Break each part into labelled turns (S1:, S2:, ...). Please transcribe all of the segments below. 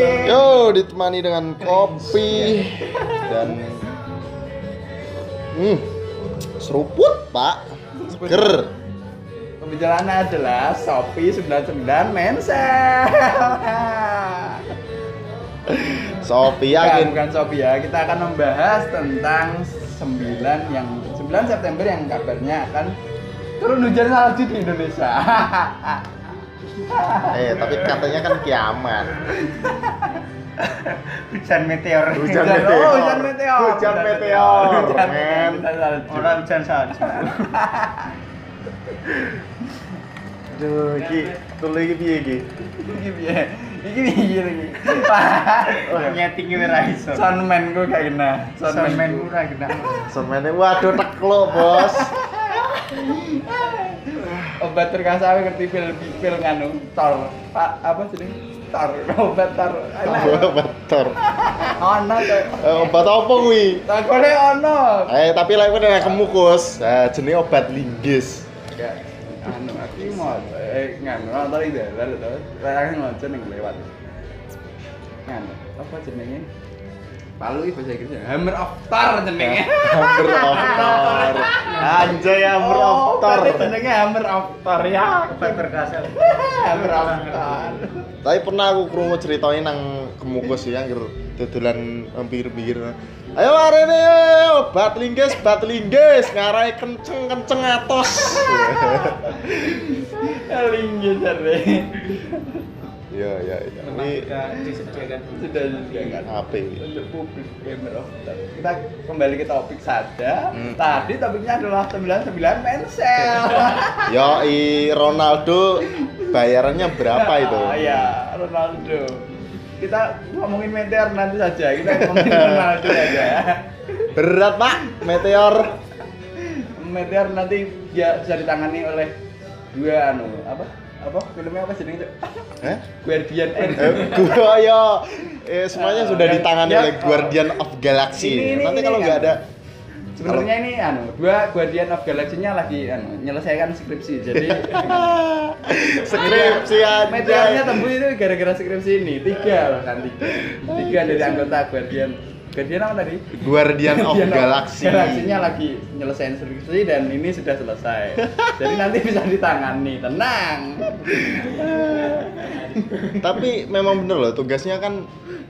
S1: Aduh, ditemani dengan kopi dan hmm, seruput, Pak. Seger.
S2: Pembicaraan adalah Shopee 99 Mensel.
S1: Sopi
S2: Bukan,
S1: yakin.
S2: bukan Shopee ya. Kita akan membahas tentang 9 yang 9 September yang kabarnya akan turun hujan salju di Indonesia.
S1: Eh, tapi katanya kan kiamat.
S3: hujan meteor
S1: Hujan
S2: oh,
S1: meteor.
S2: hujan meteor.
S1: Hujan meteor,
S2: Hujan
S1: men.
S2: hujan salju.
S3: orang hujan salju aduh iki telu iki piye iki
S2: Iki piye? Iki piye iki? Wah,
S3: wah nyeting iki ora iso
S2: Sunman gue gak kena.
S3: sampean
S2: ku.
S3: ora kena
S1: Semene waduh teklo, Bos.
S2: obat perkasa aku ngerti pil pil nganu tor Pa- apa sih tor obat tor enak
S1: Betul.
S2: ono tuh
S1: Eh, Obat apa kuwi?
S2: takone ono
S1: Eh, tapi lek kowe nek kemukus, eh jenenge obat linggis.
S2: ya anu aku mau eh nganu nonton itu lalu tuh saya ngoceh yang lewat nganu apa jenenge palu itu bahasa Inggrisnya hammer of tor jenenge
S1: Hammer of Thor. Anjay Ya. Hammer of Thor.
S2: Oh, berarti jenenge hammer of tor ya
S3: obat perkasa
S2: hammer of tor
S1: Tapi pernah aku krungu ceritanya nang kemukus ya anggere dodolan pinggir-pinggir. Ayo arene ayo, obat linggis, obat linggis ngarai kenceng-kenceng atos.
S2: linggis jare
S1: Ya ya ya. Ini
S3: disediakan
S2: sudah disediakan
S1: HP ini.
S2: untuk publik gamer of the Month. kita kembali ke topik saja
S1: Hmm.
S2: tadi topiknya adalah 99 mensel
S1: Yo, i Ronaldo bayarannya berapa itu?
S2: Ah, ya Ronaldo kita ngomongin meteor nanti saja kita ngomongin Ronaldo aja ya
S1: Berat, Pak. Meteor.
S2: meteor nanti ya bisa ditangani oleh dua anu apa apa filmnya apa jenenge Cok?
S1: Eh?
S2: Guardian
S1: Eh, gua ya eh, semuanya
S2: Ah,
S1: sudah
S2: yang-
S1: ditangani
S2: yang-
S1: oleh Guardian of Galaxy.
S2: Ini, ini,
S1: Nanti
S2: ini
S1: kalau nggak
S2: kan.
S1: ada
S2: Sebenarnya ini anu, dua Guardian of Galaxy-nya lagi anu, menyelesaikan skripsi. Jadi
S1: skripsi
S2: meteornya
S1: aja.
S2: tembus itu gara-gara skripsi ini. Tiga loh kan tiga. Tiga dari anggota Guardian. Guardian apa tadi?
S1: Guardian of
S2: Iya,
S1: Galaxy.
S2: Galaxy-nya lagi nyelesain skripsi dan ini sudah selesai. Jadi nanti bisa ditangani, tenang.
S1: Tapi memang bener loh tugasnya kan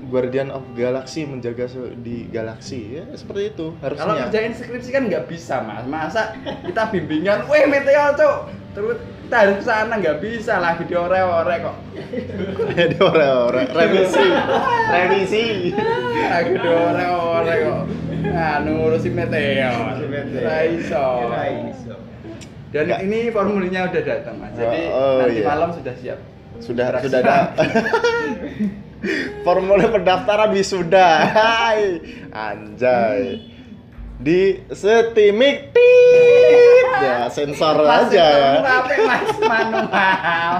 S1: Guardian of Galaxy menjaga se- di galaksi ya seperti itu
S2: Kalau
S1: harusnya.
S2: kerjain skripsi kan nggak bisa mas, masa kita bimbingan, weh meteor cok, terus kita harus kesana nggak bisa lagi diore-ore kok.
S1: Jadi orang-orang revisi.
S3: revisi
S2: Lagi diore-ore kok. Nah, ngurusi meteor. Ra iso.
S3: Ora iso
S2: Dan
S1: Nggak.
S2: ini formulirnya udah datang mas, jadi
S1: Oh, oh,
S2: nanti
S1: iya.
S2: malam sudah siap.
S1: Sudah
S2: Terasa.
S1: sudah ada formulir pendaftaran wisuda. Hai. Anjay. Di setimik tit. Ya sensor aja
S2: Mas, itu
S1: ya.
S2: Rapi mas manual.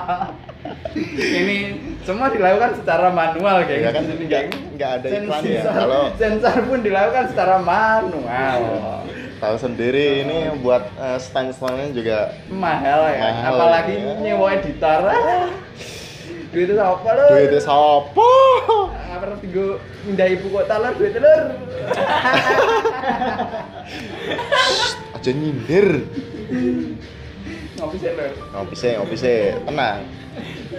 S2: ini semua dilakukan secara manual kayak
S1: Ya kan
S2: gitu.
S1: nggak nggak ada iklan ya. Kalau
S2: sensor pun dilakukan secara manual.
S1: tahu sendiri ini buat eh, stand-standnya juga
S2: Mahal ya,
S1: Mahal,
S2: apalagi
S1: ya.
S2: nyewa editor. Ah, Duitnya apa lu?
S1: duitnya sopo.
S2: Apa nanti gue pindah ibu kota lu duit telur?
S1: Aja nyindir.
S2: Ngopi sih lu.
S1: ngopi sih ngopi sih tenang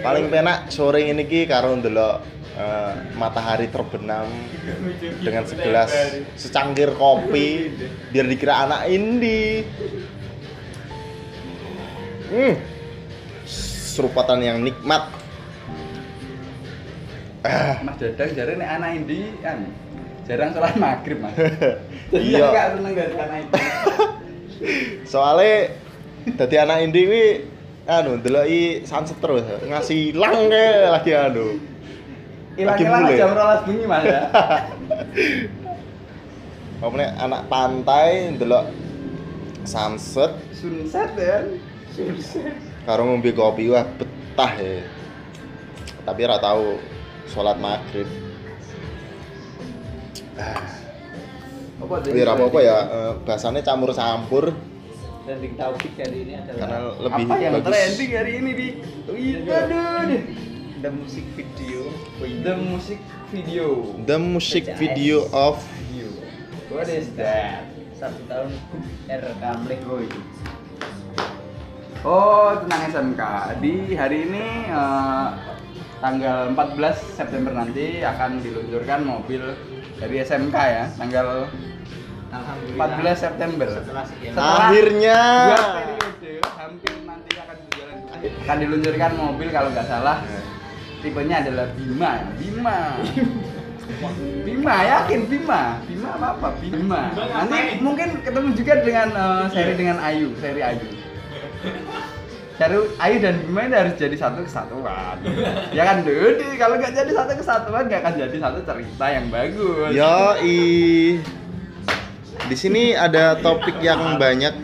S1: paling penak sore ini ki karo ndelok eh, matahari terbenam dengan segelas secangkir kopi biar dikira anak indi hmm serupatan yang nikmat
S2: Mas Dadang jarang nih anak indi kan jarang sholat maghrib mas. Jadi
S1: Iya.
S2: gak seneng dari anak indi.
S1: soalnya dadi anak indi wi anu ndeloki sunset terus ngasih lang kayak lagi anu
S2: Hilang-hilang
S1: mulai.
S2: jam rolas bunyi mas ya.
S1: Pokoknya anak pantai ndelok sunset
S2: sunset ya sunset
S1: karo ngombe kopi wah betah ya tapi ora tahu sholat maghrib
S2: apa
S1: ya ora apa-apa ya eh, bahasannya campur-campur
S3: trending topik kali ini adalah
S1: karena lebih
S2: apa yang
S1: bagus
S2: trending hari ini di Ih, aduh deh
S4: the music video
S2: The music video.
S1: The music
S2: eh.
S1: video of
S2: Video. What is that? iya.
S4: satu tahun rekam lego
S2: Oh, tentang SMK. Di hari ini eh, tanggal 14 September nanti akan diluncurkan mobil dari SMK ya, tanggal
S4: alhamdulillah
S2: 14 September.
S4: setelah sekian
S2: Setelah-
S1: akhirnya.
S2: Dua periode hampir nanti akan berjalan dua. akan diluncurkan mobil kalau nggak salah tipenya adalah Bima ya. Bima Bima yakin Bima Bima apa apa Bima nanti mungkin ketemu juga dengan eh,
S4: Iya.
S2: seri dengan Ayu seri Ayu Seri Ayu dan Bima ini harus jadi satu kesatuan ya kan Dodi kalau nggak jadi satu kesatuan nggak akan jadi satu cerita yang bagus
S1: Yoi. Di sini ada topik yang banyak.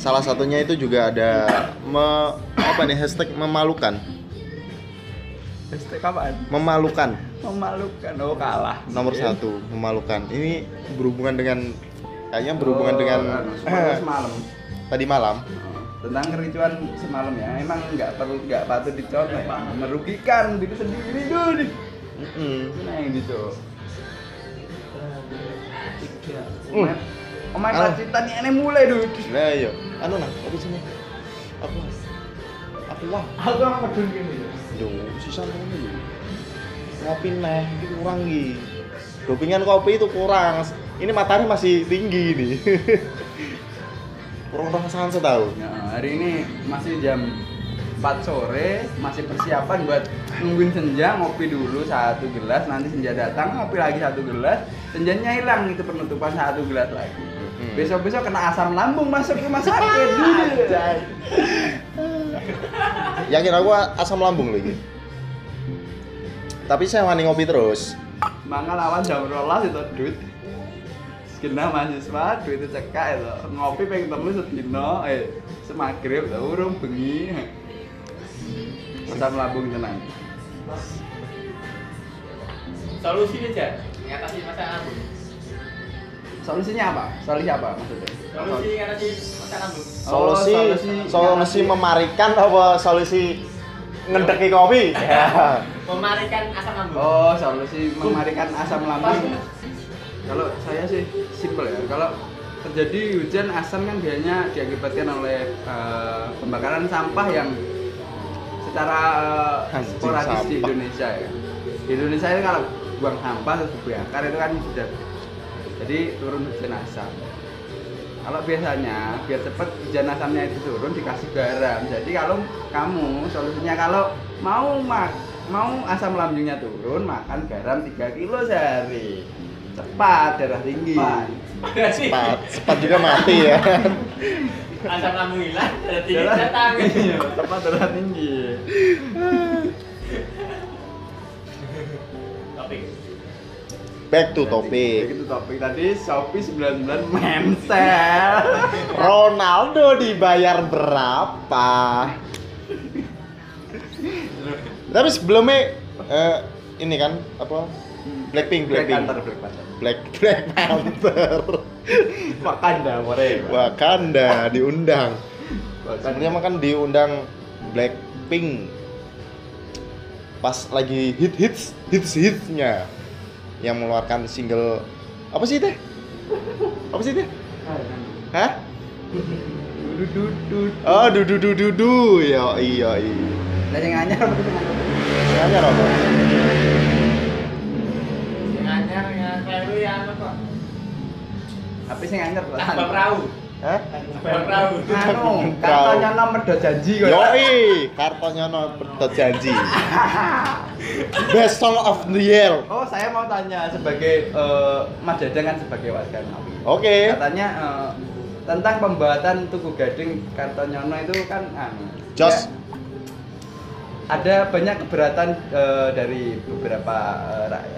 S1: Salah satunya itu juga ada me, apa nih hashtag memalukan,
S2: Hashtag apaan?
S1: memalukan
S2: memalukan oh kalah
S1: nomor satu memalukan. Ini berhubungan dengan kayaknya berhubungan
S2: Oh,
S1: dengan
S2: anu, semalam- semalam
S1: tadi malam.
S2: tentang kericuan semalam ya emang nggak perlu nggak patut dicontoh ya merugikan diri sendiri dulu
S1: Mm-mm.
S2: nah ini tuh
S4: tiga
S1: Mm.
S2: Omai
S1: Ah.
S2: pacitan ini mulai dulu
S1: Nah, yuk. Anu nah, tapi sini. Aku lah. Aku lah.
S4: aku yang pedun gini
S1: Duh, susah banget yuk. Ngopi neh, ini kurang gini. Dopingan kopi itu kurang. Ini matahari masih tinggi nih. kurang kurang sangat tahu.
S2: nah, hari ini masih jam 4 sore masih persiapan buat nungguin senja ngopi dulu satu gelas nanti senja datang ngopi lagi satu gelas senjanya hilang itu penutupan satu gelas lagi
S1: Hmm.
S2: besok besok kena asam lambung masuk rumah sakit dulu
S4: Iya.
S1: Yakin aku asam lambung lagi. Tapi saya wani ngopi terus.
S2: Mangga lawan jam rolas itu duit Sekena mahasiswa duit cekak itu Ngopi pengen temu sedino Eh semagrib itu urung bengi Asam lambung tenang
S5: solusinya Jan mengatasi masalah lambung
S2: Solusinya apa? Solusi apa maksudnya?
S5: solusi mengatasi masalah lambung
S2: Oh,
S1: Solusi,
S2: solusi-
S1: solusi memarikan apa solusi ngendeki kopi? Ya.
S5: memarikan asam lambung
S2: Oh solusi memarikan asam lambung Kalau saya sih simpel ya Kalau terjadi hujan asam kan biasanya diakibatkan oleh eh, pembakaran sampah yang secara eh,
S1: Anjing
S2: sporadis
S1: sampah.
S2: di Indonesia ya. Di Indonesia ini kalau buang sampah terus dibakar itu kan sudah jadi turun hujan asam. Kalau biasanya biar cepat hujan asamnya itu turun dikasih garam. Jadi kalau kamu solusinya kalau mau mak mau asam lambungnya turun makan garam 3 kilo sehari. Cepat darah tinggi.
S5: berarti
S1: Cepat, cepat juga mati ya.
S5: asam lambung hilang berarti
S2: Darah-
S5: datang
S2: Iya, cepat darah tinggi.
S5: topik
S1: Back to
S2: Jadi
S1: topik.
S2: Itu topik tadi Shopee 99 mensel.
S1: Ronaldo dibayar berapa? Tapi sebelumnya eh, ini kan apa? Blackpink,
S2: Black
S1: Blackpink.
S2: Panther, Black Panther.
S1: Black Black Panther.
S2: Wakanda, whatever.
S1: Wakanda diundang. Sebenarnya
S2: Wakanda.
S1: makan diundang Blackpink pas lagi hit hits hits hitsnya yang mengeluarkan single apa sih teh? Apa sih teh? Hah?
S2: Dudu dudu.
S1: Oh, du du du du du. Ya, iya, iya.
S2: Lah yang anyar apa tuh?
S1: Sengaja apa?
S5: yang anyar yang keliru yang apa kok
S2: Apa sih yang anyar? Pak?
S5: tambah perahu
S1: Hah?
S5: tambah perahu
S2: Anu, katanya nomor do janji kok.
S1: Yoi, Iya, kartonya no janji. Best song of the year.
S2: Oh, saya mau tanya sebagai eh, Mas Dadang kan sebagai warga Ngawi.
S1: Oke.
S2: Katanya eh, tentang pembuatan Tugu Gading Kartonyono itu kan anu.
S1: Jos.
S2: ya, ada banyak keberatan eh, dari beberapa eh, ra-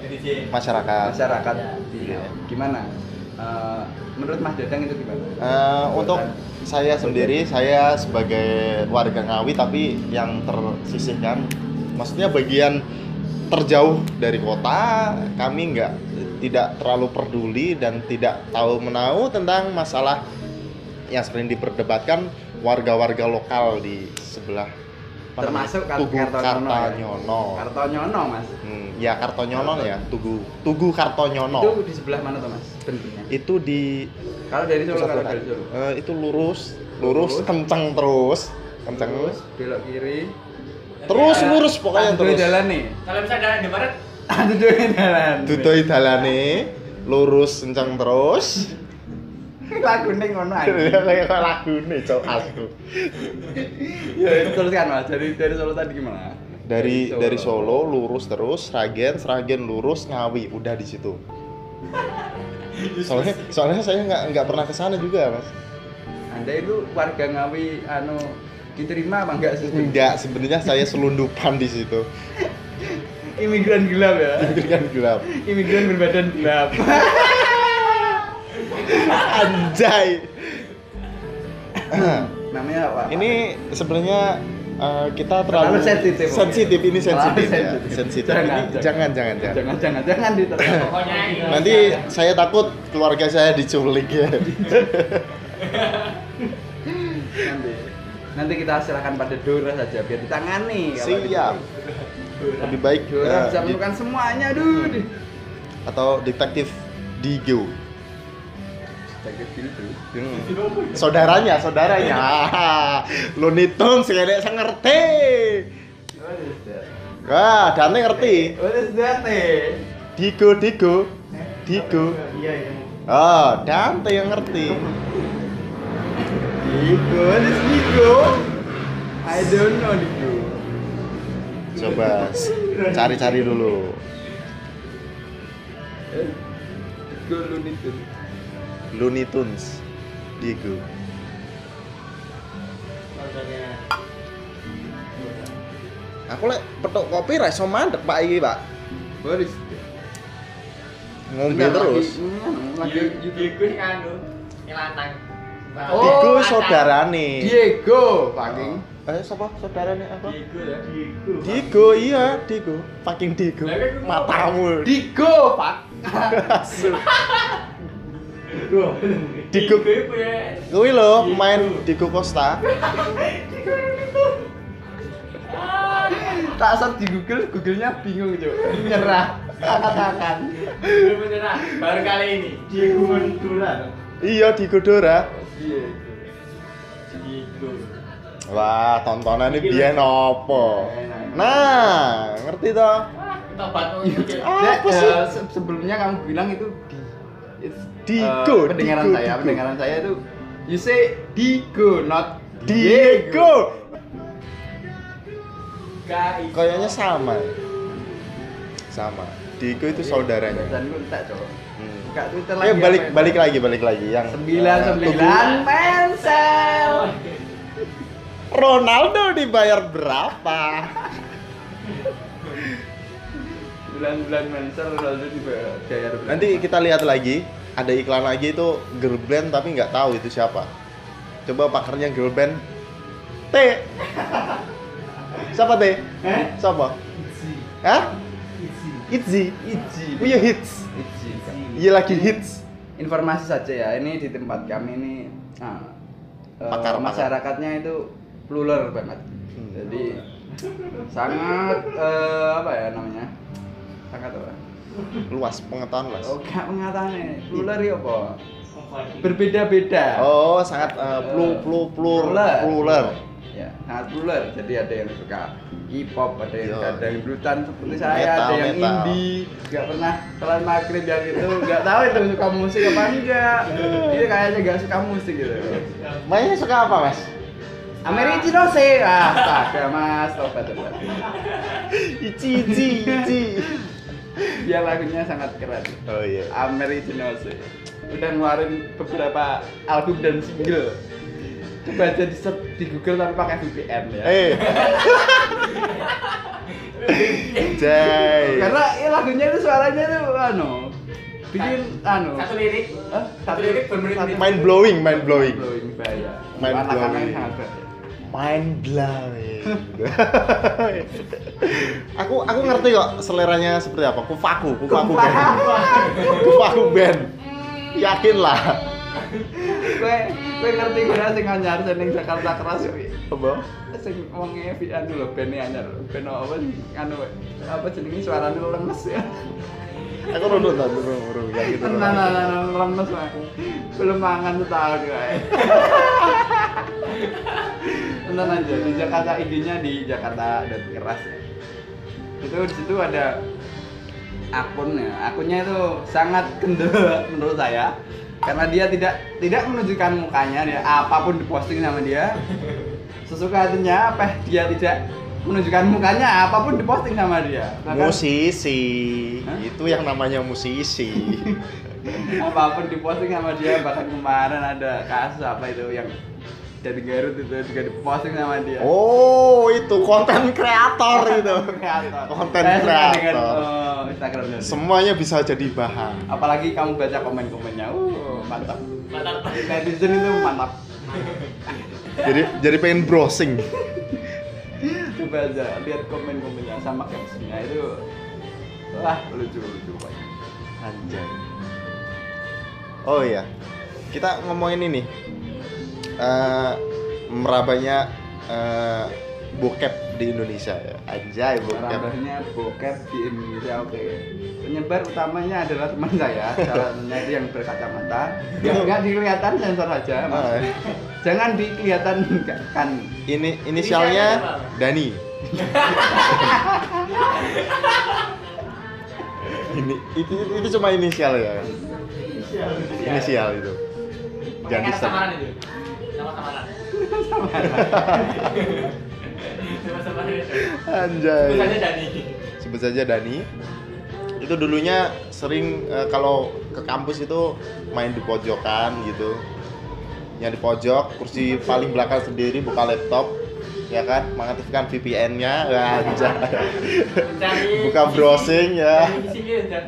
S2: eh,
S5: DJ
S1: Masyarakat.
S2: masyarakat di gimana? Eh, menurut Mas Dadang itu gimana?
S1: Eh, untuk saya sendiri, saya sebagai warga Ngawi tapi yang tersisihkan, maksudnya bagian terjauh dari kota, kami nggak tidak terlalu peduli dan tidak tahu menau tentang masalah yang sering diperdebatkan warga-warga lokal di sebelah apa
S2: Termasuk
S1: namanya?
S2: Kar-
S1: Tugu
S2: Kartonyono ya?
S1: Kartonyono.
S2: Kartonyono mas
S1: Hmm, ya Kartonyono ya, Tugu Tugu Kartonyono.
S2: itu di sebelah mana tuh mas bentuknya
S1: Itu di
S2: kalau dari Solo
S1: pusat
S2: kalau
S1: kota.
S2: dari Solo
S1: Eh, itu lurus, lurus,
S2: Lurus.
S1: kenceng terus, kenceng terus, Iya.
S2: belok kiri
S1: terus
S2: Ada-
S1: lurus pokoknya
S2: ada
S1: terus.
S2: jalan nih
S5: Kalau bisa jalan di barat,
S2: ada dua jalan
S1: Dudoi dalane, lurus kenceng terus.
S2: lagu nih ngono aja
S1: Kayak lagu nih, cok asku.
S2: ya itu teruskan mas dari dari Solo tadi gimana
S1: Dari dari Solo lurus terus, Sragen, Sragen lurus, Ngawi, udah di situ. Soalnya soalnya saya nggak nggak pernah ke sana juga, Mas.
S2: anda itu warga Ngawi anu diterima apa enggak sih
S1: Enggak, sebenarnya saya selundupan di situ.
S2: imigran gelap ya
S1: Itu kan gelap.
S2: imigran berbadan gelap
S1: Anjay.
S2: namanya apa
S1: ini sebenarnya eh, kita
S2: Terlalu
S1: terlalu
S2: sensitif, mungkin.
S1: sensitif ini sensitif
S2: Terlalu
S1: ya.
S2: sensitif.
S1: sensitif
S2: Jangan,
S1: Ini-
S2: jangan.
S1: jangan jangan jangan
S2: jangan jangan jangan diterima
S5: pokoknya ini.
S1: nanti saya takut keluarga saya diculik ya
S2: nanti nanti kita serahkan pada Dora saja biar ditangani kalau
S1: siap
S2: gitu.
S1: lebih baik
S2: Dora
S1: eh,
S2: bisa
S1: di-
S2: menemukan semuanya dude
S1: atau detektif Digo
S2: Jaga filter.
S1: Hmm. saudaranya saudaranya lo nitun saya saya ngerti
S2: What is that?
S1: wah Dante ngerti
S2: What is that eh?
S1: Digo Digo Digo
S4: Iya, iya.
S1: oh Dante yang ngerti
S2: Digo, what is Digo? I don't know Digo.
S1: coba s- cari-cari dulu
S2: Eh, Digo Looney Tunes.
S1: Looney Tunes Digo aku lek petuk kopi ra iso mandek Pak iki, Pak.
S2: What is that?
S1: Ngombe
S2: Bentar,
S1: terus.
S2: lagi- ini anu, Lagi
S5: Lagi
S2: YouTube.
S5: Diego yang anu, yang lantang.
S2: Oh, Iya.
S1: Digo
S5: lantang.
S1: saudarane.
S2: Diego, fucking.
S1: Eh, sapa saudarane apa?
S5: Diego ya.
S1: Digo, iya, Digo. Fucking Digo.
S5: Lah, kan aku-
S1: Matamu.
S2: Digo, fuck.
S1: Digo.
S5: Diego itu ya.
S1: Kuwi lho pemain Digo Costa.
S2: Tak search di Google, Google-nya bingung, Cuk. Nyerah. Katakan.
S5: Diego menyerah. ya. Baru kali ini.
S4: Diego Ventura.
S1: Iya, Digo Dora.
S2: Diego.
S5: Diego.
S1: Wah, tontonan ini biyen opo. Nah, ngerti toh?
S5: Tobat mau ngikut.
S1: Ah, apa
S2: Ya,
S1: sih?
S2: eh, se- sebelumnya kamu bilang itu di it's,
S1: Digo,
S2: eh, pendengaran
S1: Digo,
S2: saya,
S1: Digo.
S2: pendengaran saya itu you say Digo not
S1: Diego.
S5: Guys.
S1: Kayaknya sama. Sama. Digo itu saudaranya.
S2: Dan gue tak coba.
S1: Hmm.
S2: Buka Twitter lagi.
S1: Ayo balik
S2: apa
S1: balik
S2: ya?
S1: lagi, balik lagi yang
S2: Sembilan
S1: eh,
S2: sembilan pensel.
S1: Ronaldo dibayar berapa?
S2: Sembilan sembilan pensel lalu dibayar.
S1: Nanti kita lihat lagi, ada iklan lagi itu girl band tapi nggak tahu itu siapa. Coba pakarnya girl band T. Siapa T?
S2: Eh?
S1: Siapa? Hah? Itzy.
S2: Iji.
S1: Oh iya hits.
S2: Iji.
S1: Iya lagi hits.
S2: Informasi saja ya. Ini di tempat kami ini. ah, eh,
S1: Pakar-pakar.
S2: masyarakatnya itu plural banget.
S1: Hmm.
S2: jadi sangat eh, apa ya namanya sangat apa
S1: Luas pengetahuan luas.
S2: oh gak mengatakan plural ya apa berbeda-beda
S1: Oh, sangat eh, plu plu plur
S2: Plural.
S1: plural.
S2: ya sangat plural jadi ada yang suka hip-hop ada yang
S1: Yo.
S2: ada yang brutan seperti saya
S1: Metal,
S2: ada yang
S1: metal.
S2: indie nggak pernah sholat maghrib yang itu nggak tahu itu suka musik apa enggak itu kayaknya nggak suka musik gitu
S1: Mainnya suka apa, Mas?
S2: Americano sih ah astaga mas tobat tobat
S1: Ici ici ici.
S2: dia lagunya sangat keren
S1: Oh iya.
S2: Ameri Jenose udah ngeluarin beberapa album dan single coba aja di search di Google tapi pakai VPN ya
S1: Eh. Jai.
S2: karena ya, lagunya itu suaranya tuh anu bikin anu
S5: Satu lirik.
S2: Hah?
S5: Satu lirik bermenit-menit.
S1: mind blowing, mind blowing.
S2: blowing bahaya
S1: Mind
S2: anak-anak
S1: blowing.
S2: yang sangat berat ya.
S1: Mind blowing. aku aku ngerti kok seleranya seperti apa. Kufaku, kufaku band. Kufaku band. Yakinlah.
S2: Gue gue ngerti gue sing anyar sing ning Jakarta keras kuwi.
S1: Apa?
S2: Sing wonge Vian lho bene anyar. Ben apa sih anu apa jenenge suarane lemes ya.
S1: Aku runut tadi runut yang gitu.
S2: Tenan tenan lemes lah. Belum mangan setahun gue. Tenan aja di Jakarta idenya di Jakarta dan keras. ya. Itu di situ ada akunnya. Akunnya itu sangat kendor menurut saya karena dia tidak tidak menunjukkan mukanya dia apapun diposting sama dia sesuka hatinya apa dia tidak menunjukkan mukanya apapun diposting sama dia Bahkan-
S1: Musisi,
S2: Hah?
S1: itu yang namanya musisi.
S2: apapun diposting sama dia bahkan kemarin ada kasus apa itu yang dari Garut itu juga diposting sama dia
S1: Oh, itu konten kreator itu.
S2: kreator
S1: Konten
S2: Saya suka dengan,
S1: kreator.
S2: eh, Instagramnya dia.
S1: Semuanya bisa jadi bahan.
S2: apalagi kamu baca komen-komennya uh mantap
S5: Mantap.
S2: netizen itu mantap
S1: Jadi jadi pengen browsing.
S2: coba aja lihat komen-komennya sama captionnya itu wah lucu lucu banget
S1: Anjay. Oh iya. Kita ngomongin ini. Eh merabanya eh, bokep di Indonesia ya. Anjay, bokep.
S2: Merambahnya bokep di Indonesia oke. Penyebar utamanya adalah teman saya, caranya itu yang berkacamata. Yang nggak dikelihatan sensor aja, Mas.
S1: Ah,
S2: Jangan dikelihatan kan.
S1: ini inisialnya Dani. ini itu, itu cuma inisial ya. kan? Inisial itu. ya,
S5: Pakai
S1: Jangan
S5: kata samaran
S1: disamakan.
S5: itu. Nama samaran. Nama samaran. itu. Tulisannya
S1: Anjay.
S5: Dani.
S1: sebut saja Dani itu dulunya sering eh, kalau ke kampus itu main di pojokan gitu yang di pojok kursi paling belakang sendiri buka laptop ya kan mengaktifkan VPN-nya aja
S5: Cari
S1: Buka
S5: musisi.
S1: browsing, ya.
S5: Cari Musisi dia, Cak.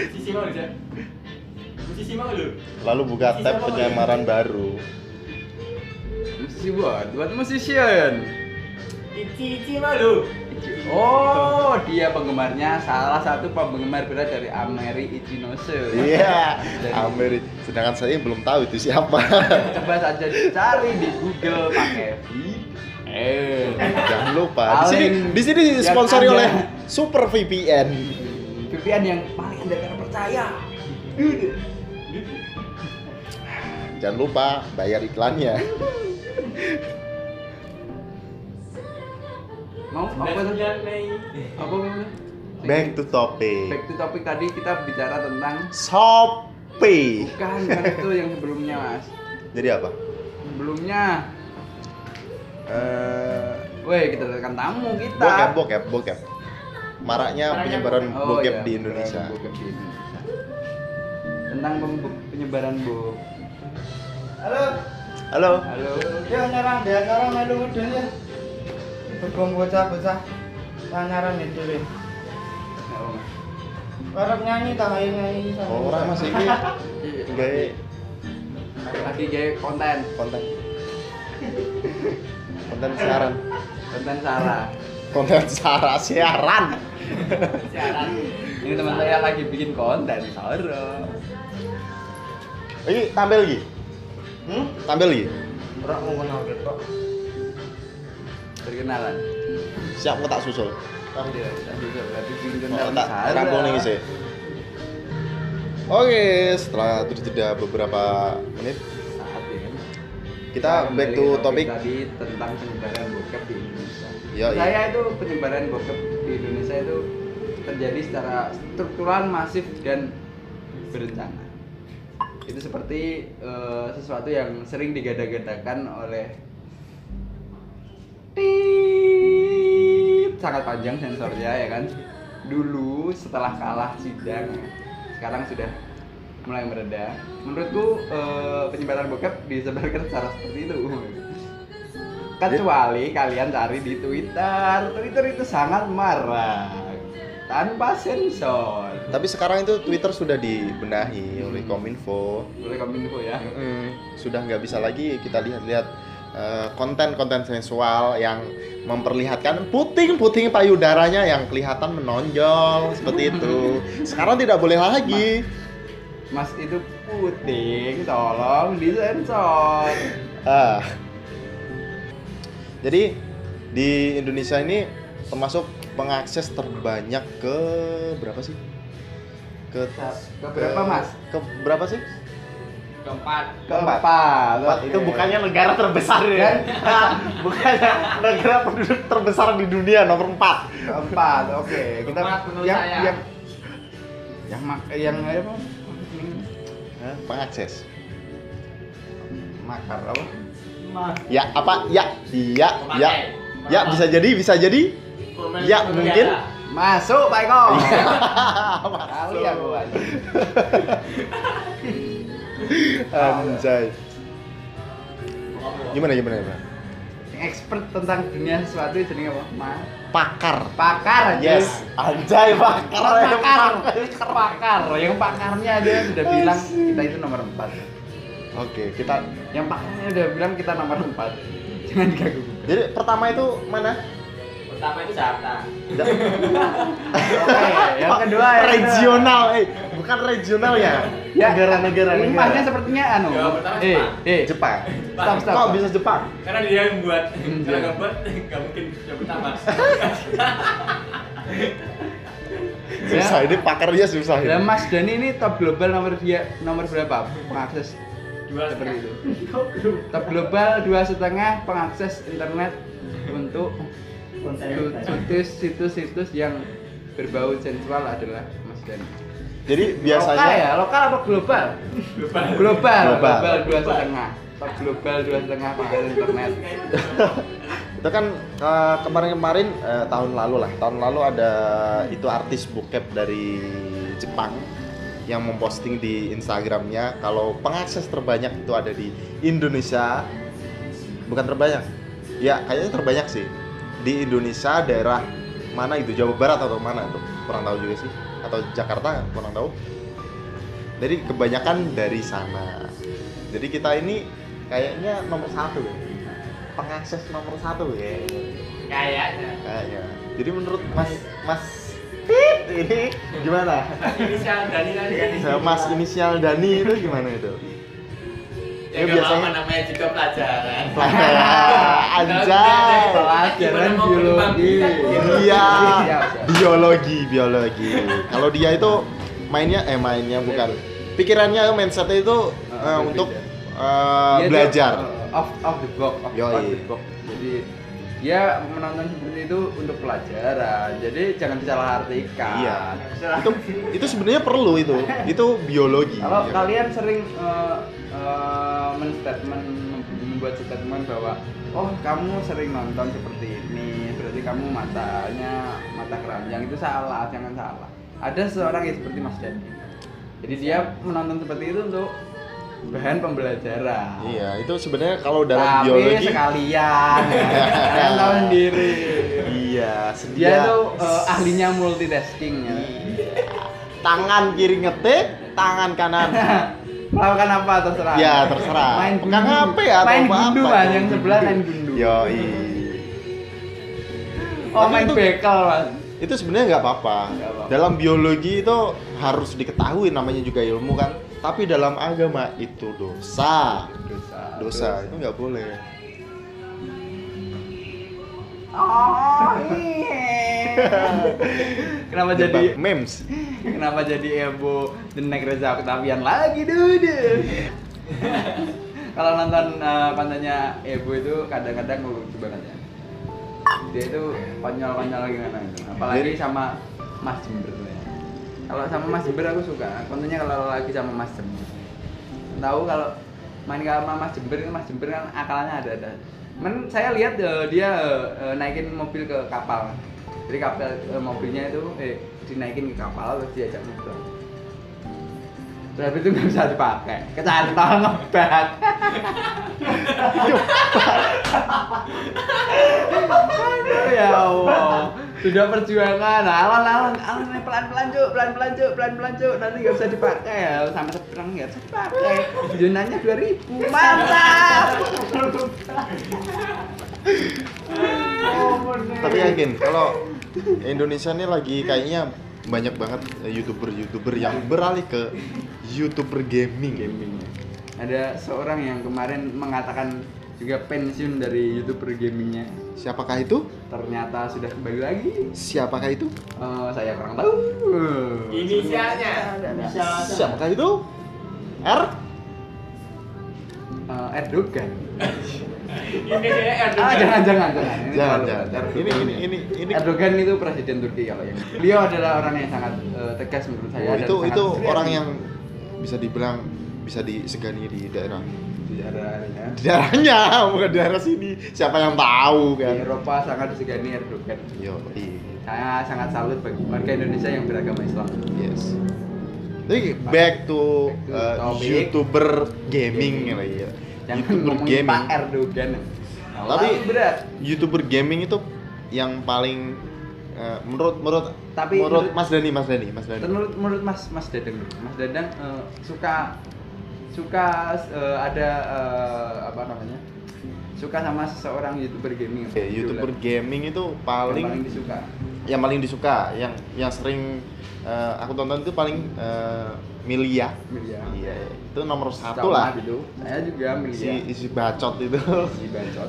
S5: Musisi mau, Cak. Musisi mau lu.
S1: lalu buka tab penyamaran baru
S2: Musisi buat, buat musician.
S5: Ici Ici mau lu.
S2: Oh, dia penggemarnya salah satu penggemar berat dari Ameri Ichinose.
S1: iya
S2: Dari-
S1: Ameri sedangkan saya belum tahu itu siapa
S2: Coba saja dicari di Google pakai V. Eh,
S1: jangan lupa di sini
S2: Paling
S1: di sini
S2: yang
S1: disponsori
S2: ada.
S1: oleh Super VPN
S2: VPN yang paling anda tidak percaya.
S1: Jangan lupa bayar iklannya.
S2: Mau apa tuh?
S5: 9 Mei.
S2: Apa mau?
S1: Back to
S2: Back
S1: topic.
S2: to topic tadi kita bicara tentang
S1: Shopee.
S2: bukan bukan itu yang sebelumnya mas.
S1: Jadi apa?
S2: Sebelumnya,
S1: Eh,
S2: woi kita datangkan tamu kita.
S1: bokep, bokep, bokep. Maraknya
S5: Maraknya
S1: penyebaran
S2: Oh,
S1: bokep
S2: iya,
S1: di Indonesia.
S2: penyebaran Bokep di Indonesia. Tentang pem- penyebaran bokep.
S3: Halo,
S1: Halo.
S2: Halo.
S3: dia nyarang dia nyarang melu mudun ya. Bergong bocah-bocah. Tak nyaran itu deh.
S2: Halo.
S3: Arab nyanyi tak ayo nyanyi sama.
S1: Oh, orang mas ini gawe
S2: Lagi gaya konten,
S1: konten. Konten siaran.
S2: konten salah.
S1: Konten siaran siaran.
S5: Siaran.
S2: Ini teman saya lagi bikin konten salah.
S1: Ini tampil lagi.
S3: Hmm?
S1: Tampil lagi.
S3: Ora mau kenal ketok.
S2: Perkenalan.
S1: Siap kok tak susul.
S2: Iya, kita bisa berarti bikin konten
S1: Oh, tak
S2: salah.
S1: rampung nih sih. Oke, setelah terjeda beberapa menit,
S2: Saat ya kan.
S1: kita back to
S2: kembali ke
S1: topic
S2: tadi tentang penyebaran bokep di Indonesia.
S1: Yoi.
S2: Saya itu penyebaran bokep di Indonesia itu terjadi secara struktural, masif dan berencana. Itu seperti eh, sesuatu yang sering digadang-gadangkan oleh Tit. sangat panjang sensornya ya kan. Dulu setelah kalah sidang, sekarang sudah mulai mereda. Menurutku eh, penyebaran bokep disebarkan secara seperti itu. Kecuali kalian cari di Twitter. Twitter itu sangat marah tanpa sensor.
S1: Tapi sekarang itu Twitter sudah
S2: Hmm.
S1: dibenahi oleh Kominfo.
S2: Boleh kominfo ya.
S1: Mm, Sudah nggak bisa lagi kita lihat-lihat eh, konten-konten sensual yang memperlihatkan puting-puting payudaranya yang kelihatan menonjol seperti itu. Sekarang tidak boleh lagi.
S2: Mas itu puting, tolong disensor.
S1: Ah. Jadi di Indonesia ini termasuk pengakses terbanyak ke berapa sih? Ke
S2: Ke berapa, Mas?
S1: Ke berapa sih?
S5: keempat
S1: Keempat.
S2: Keempat.
S1: Empat. Itu
S2: oke.
S1: bukannya negara terbesar ya? bukannya negara penduduk terbesar di dunia nomor 4.
S2: Keempat, oke. Kita
S5: Keempat menurut
S2: yang,
S5: saya.
S2: yang yang mak yang apa?
S1: Pengakses.
S2: Makar apa?
S1: Ya apa? Ya, iya,
S5: Pemakai.
S1: ya. Ya bisa jadi, bisa jadi.
S5: Pemain
S1: Ya,
S5: negara.
S1: mungkin.
S2: Masuk, Pak Eko.
S1: Iya.
S2: Kali ya aku anjing.
S1: Anjay. Gimana gimana ya,
S2: Yang expert tentang dunia sesuatu jenenge apa? Ma-
S1: Pakar.
S2: pakar aja.
S1: Yes, anjay pakar.
S2: pakar, pakar. Yang pakarnya aja sudah bilang kita itu nomor 4.
S1: Oke, kita
S2: Yang pakarnya udah bilang kita nomor 4. Jangan diganggu.
S1: jadi pertama itu mana?
S5: pertama itu Jakarta
S2: Oke, yang kedua yang kedua.
S1: regional, eh bukan regional ya.
S2: Ya,
S1: Negara-negara
S2: Limpahnya
S1: negara.
S2: sepertinya anu.
S5: Ya, pertama
S2: eh,
S5: Jepang.
S1: Jepang.
S2: eh, stop, stop.
S1: Kok
S2: stop.
S1: bisa Jepang?
S5: karena dia yang buat
S2: Hmm,
S5: karena
S2: iya.
S5: nggak buat nggak mungkin yang pertama
S2: Ya.
S1: Susah ini pakarnya susah ini.
S2: Lah Mas Dani ini top global nomor dia nomor berapa pengakses
S5: dua
S2: seperti itu?
S5: itu
S2: Top global dua setengah pengakses internet untuk
S4: konten
S2: situs situs-situs yang berbau sensual adalah Mas Dani.
S1: Jadi
S2: lokal ya,
S1: biasanya
S2: lokal apa global?
S5: global
S2: Global,
S1: Global.
S2: global dua setengah. Top global dua setengah pengakses internet.
S1: itu kan eh, kemarin-kemarin eh, tahun lalu lah, tahun lalu ada itu artis bokep dari Jepang yang memposting di Instagramnya kalau pengakses terbanyak itu ada di Indonesia bukan terbanyak ya kayaknya terbanyak sih di Indonesia daerah mana itu Jawa Barat atau mana tuh kurang tahu juga sih atau Jakarta kurang tahu jadi kebanyakan dari sana jadi kita ini kayaknya nomor satu ya. pengakses nomor satu ya
S5: kayaknya
S1: kayaknya jadi menurut Mas Mas Tit ini gimana
S5: inisial Dani tadi kan
S1: Iya, Mas inisial Dani itu gimana itu
S5: ya
S1: Ya,
S5: nggak apa-apa
S1: biasanya-
S5: namanya juga pelajaran
S1: Pelajaran, anjay
S2: Pelajaran
S5: Gimana mau
S2: biologi.
S5: berkembang?
S1: Iya,
S2: Siap, siap.
S1: biologi, biologi. Kalau dia itu mainnya, eh mainnya bukan. Pikirannya, mindsetnya itu eh,
S2: berbeda.
S1: untuk eh,
S2: Iya, Dia tuh,
S1: belajar.
S2: uh, off off the box off,
S1: Yoi.
S2: off the box jadi dia menonton seperti itu untuk pelajaran jadi jangan salah artikan
S1: Iya. Itu itu sebenarnya perlu itu. Itu biologi.
S2: kalau
S1: ya.
S2: kalian sering uh, uh, men-statement membuat statement bahwa oh kamu sering nonton seperti ini berarti kamu matanya mata keranjang itu salah jangan salah ada seorang yang seperti Mas Dan jadi dia menonton seperti itu untuk bahan pembelajaran
S1: Iya, itu sebenarnya kalau dalam
S2: Tapi
S1: biologi.
S2: sekalian ya. kalian tahu sendiri
S1: Iya, sedia.
S2: dia tuh eh, ahlinya multitasking ya.
S1: tangan kiri ngetik, tangan kanan.
S2: melakukan apa terserah
S1: Ya, terserah.
S2: main gundu
S1: Pegang HP atau
S2: main
S1: apa-apa. kan.
S2: gundu mas yang sebelah main gundu
S1: Yoi.
S2: oh
S1: Tapi
S2: main
S1: itu-
S2: bekel mas
S1: itu sebenarnya nggak apa-apa.
S2: Nggak apa-apa.
S1: Dalam biologi itu harus diketahui namanya juga ilmu kan. Tapi dalam agama itu dosa.
S2: dosa
S1: Dosa itu nggak boleh.
S2: oh iya kenapa jadi
S1: Nyebab memes.
S2: kenapa jadi Ebo The Next Reza Octavian lagi dude kalau nonton eh, kontennya Ebo itu kadang-kadang lucu banget ya dia itu konyol-konyol gimana gitu apalagi sama Mas Jember tuh ya kalau sama Mas Jember aku suka kontennya kalau lagi sama Mas Jember tahu kalau main sama Mas Jember kan Mas Jember kan akalnya ada-ada Men, saya lihat eh, dia eh, eh, naikin mobil ke kapal jadi kapal eh, mobilnya itu eh, dinaikin ke kapal terus diajak ngobrol terus habis itu nggak bisa dipakai kecantol ngebat Aduh, ya Allah sudah perjuangan alon alon alon pelan pelan cuk pelan pelan cuk pelan pelan cuk nanti nggak bisa dipakai ya sama seberang nggak bisa dipakai zonanya dua ribu mantap
S1: Tapi yakin kalau Indonesia ini lagi kayaknya banyak banget eh, youtuber-youtuber yang beralih ke youtuber gaming.
S2: gaming ada seorang yang kemarin mengatakan juga pensiun dari youtuber gamingnya
S1: Siapakah itu?
S2: ternyata sudah kembali lagi
S1: Siapakah itu?
S2: Eh, saya kurang tahu
S5: Inisialnya. Inisialnya.
S1: Siapakah itu? R?
S2: Eh, Erdogan
S5: Inisialnya Erdogan.
S2: ah jangan jangan jangan Ini
S1: Jangan,
S2: terlalu
S1: jangan.
S2: berat. Erdogan.
S1: Ini ini ini ini
S2: Erdogan itu presiden Turki kalau yang beliau adalah orang yang sangat eh, tegas menurut saya
S1: Oh,
S2: dan
S1: itu
S2: sangat
S1: itu
S2: serius.
S1: orang yang bisa dibilang bisa disegani di daerah
S2: Di daerahnya.
S1: di daerahnya bukan di daerah sini siapa yang tahu
S2: Di
S1: kan
S2: Eropa sangat disegani Erdogan
S1: yo i-
S2: saya sangat salut bagi warga Indonesia yang beragama Islam
S1: yes tapi back to,
S2: Back to
S1: uh,
S2: topic.
S1: youtuber gaming lagi ya
S2: jangan
S1: youtuber
S2: ngomongin Pak
S1: gaming
S2: Erdogan
S1: Tapi-
S2: Lalu berat
S1: youtuber gaming itu yang paling uh, menurut menurut
S2: Tapi
S1: menurut
S2: menurut-
S1: Mas Dani Mas Dani Mas Dani
S2: menurut menurut Mas Mas Dadang Mas Dadang eh, suka suka eh, ada eh, apa namanya suka sama seseorang youtuber gaming
S1: Oke, Iya, youtuber gaming itu
S2: paling,
S1: paling
S2: paling disuka
S1: yang paling disuka yang yang sering eh, aku tonton itu paling eh, Milia
S2: Milia.
S1: iya itu nomor satu
S2: Sama
S1: lah
S2: gitu saya juga Milia
S1: si isi bacot itu
S2: si bacot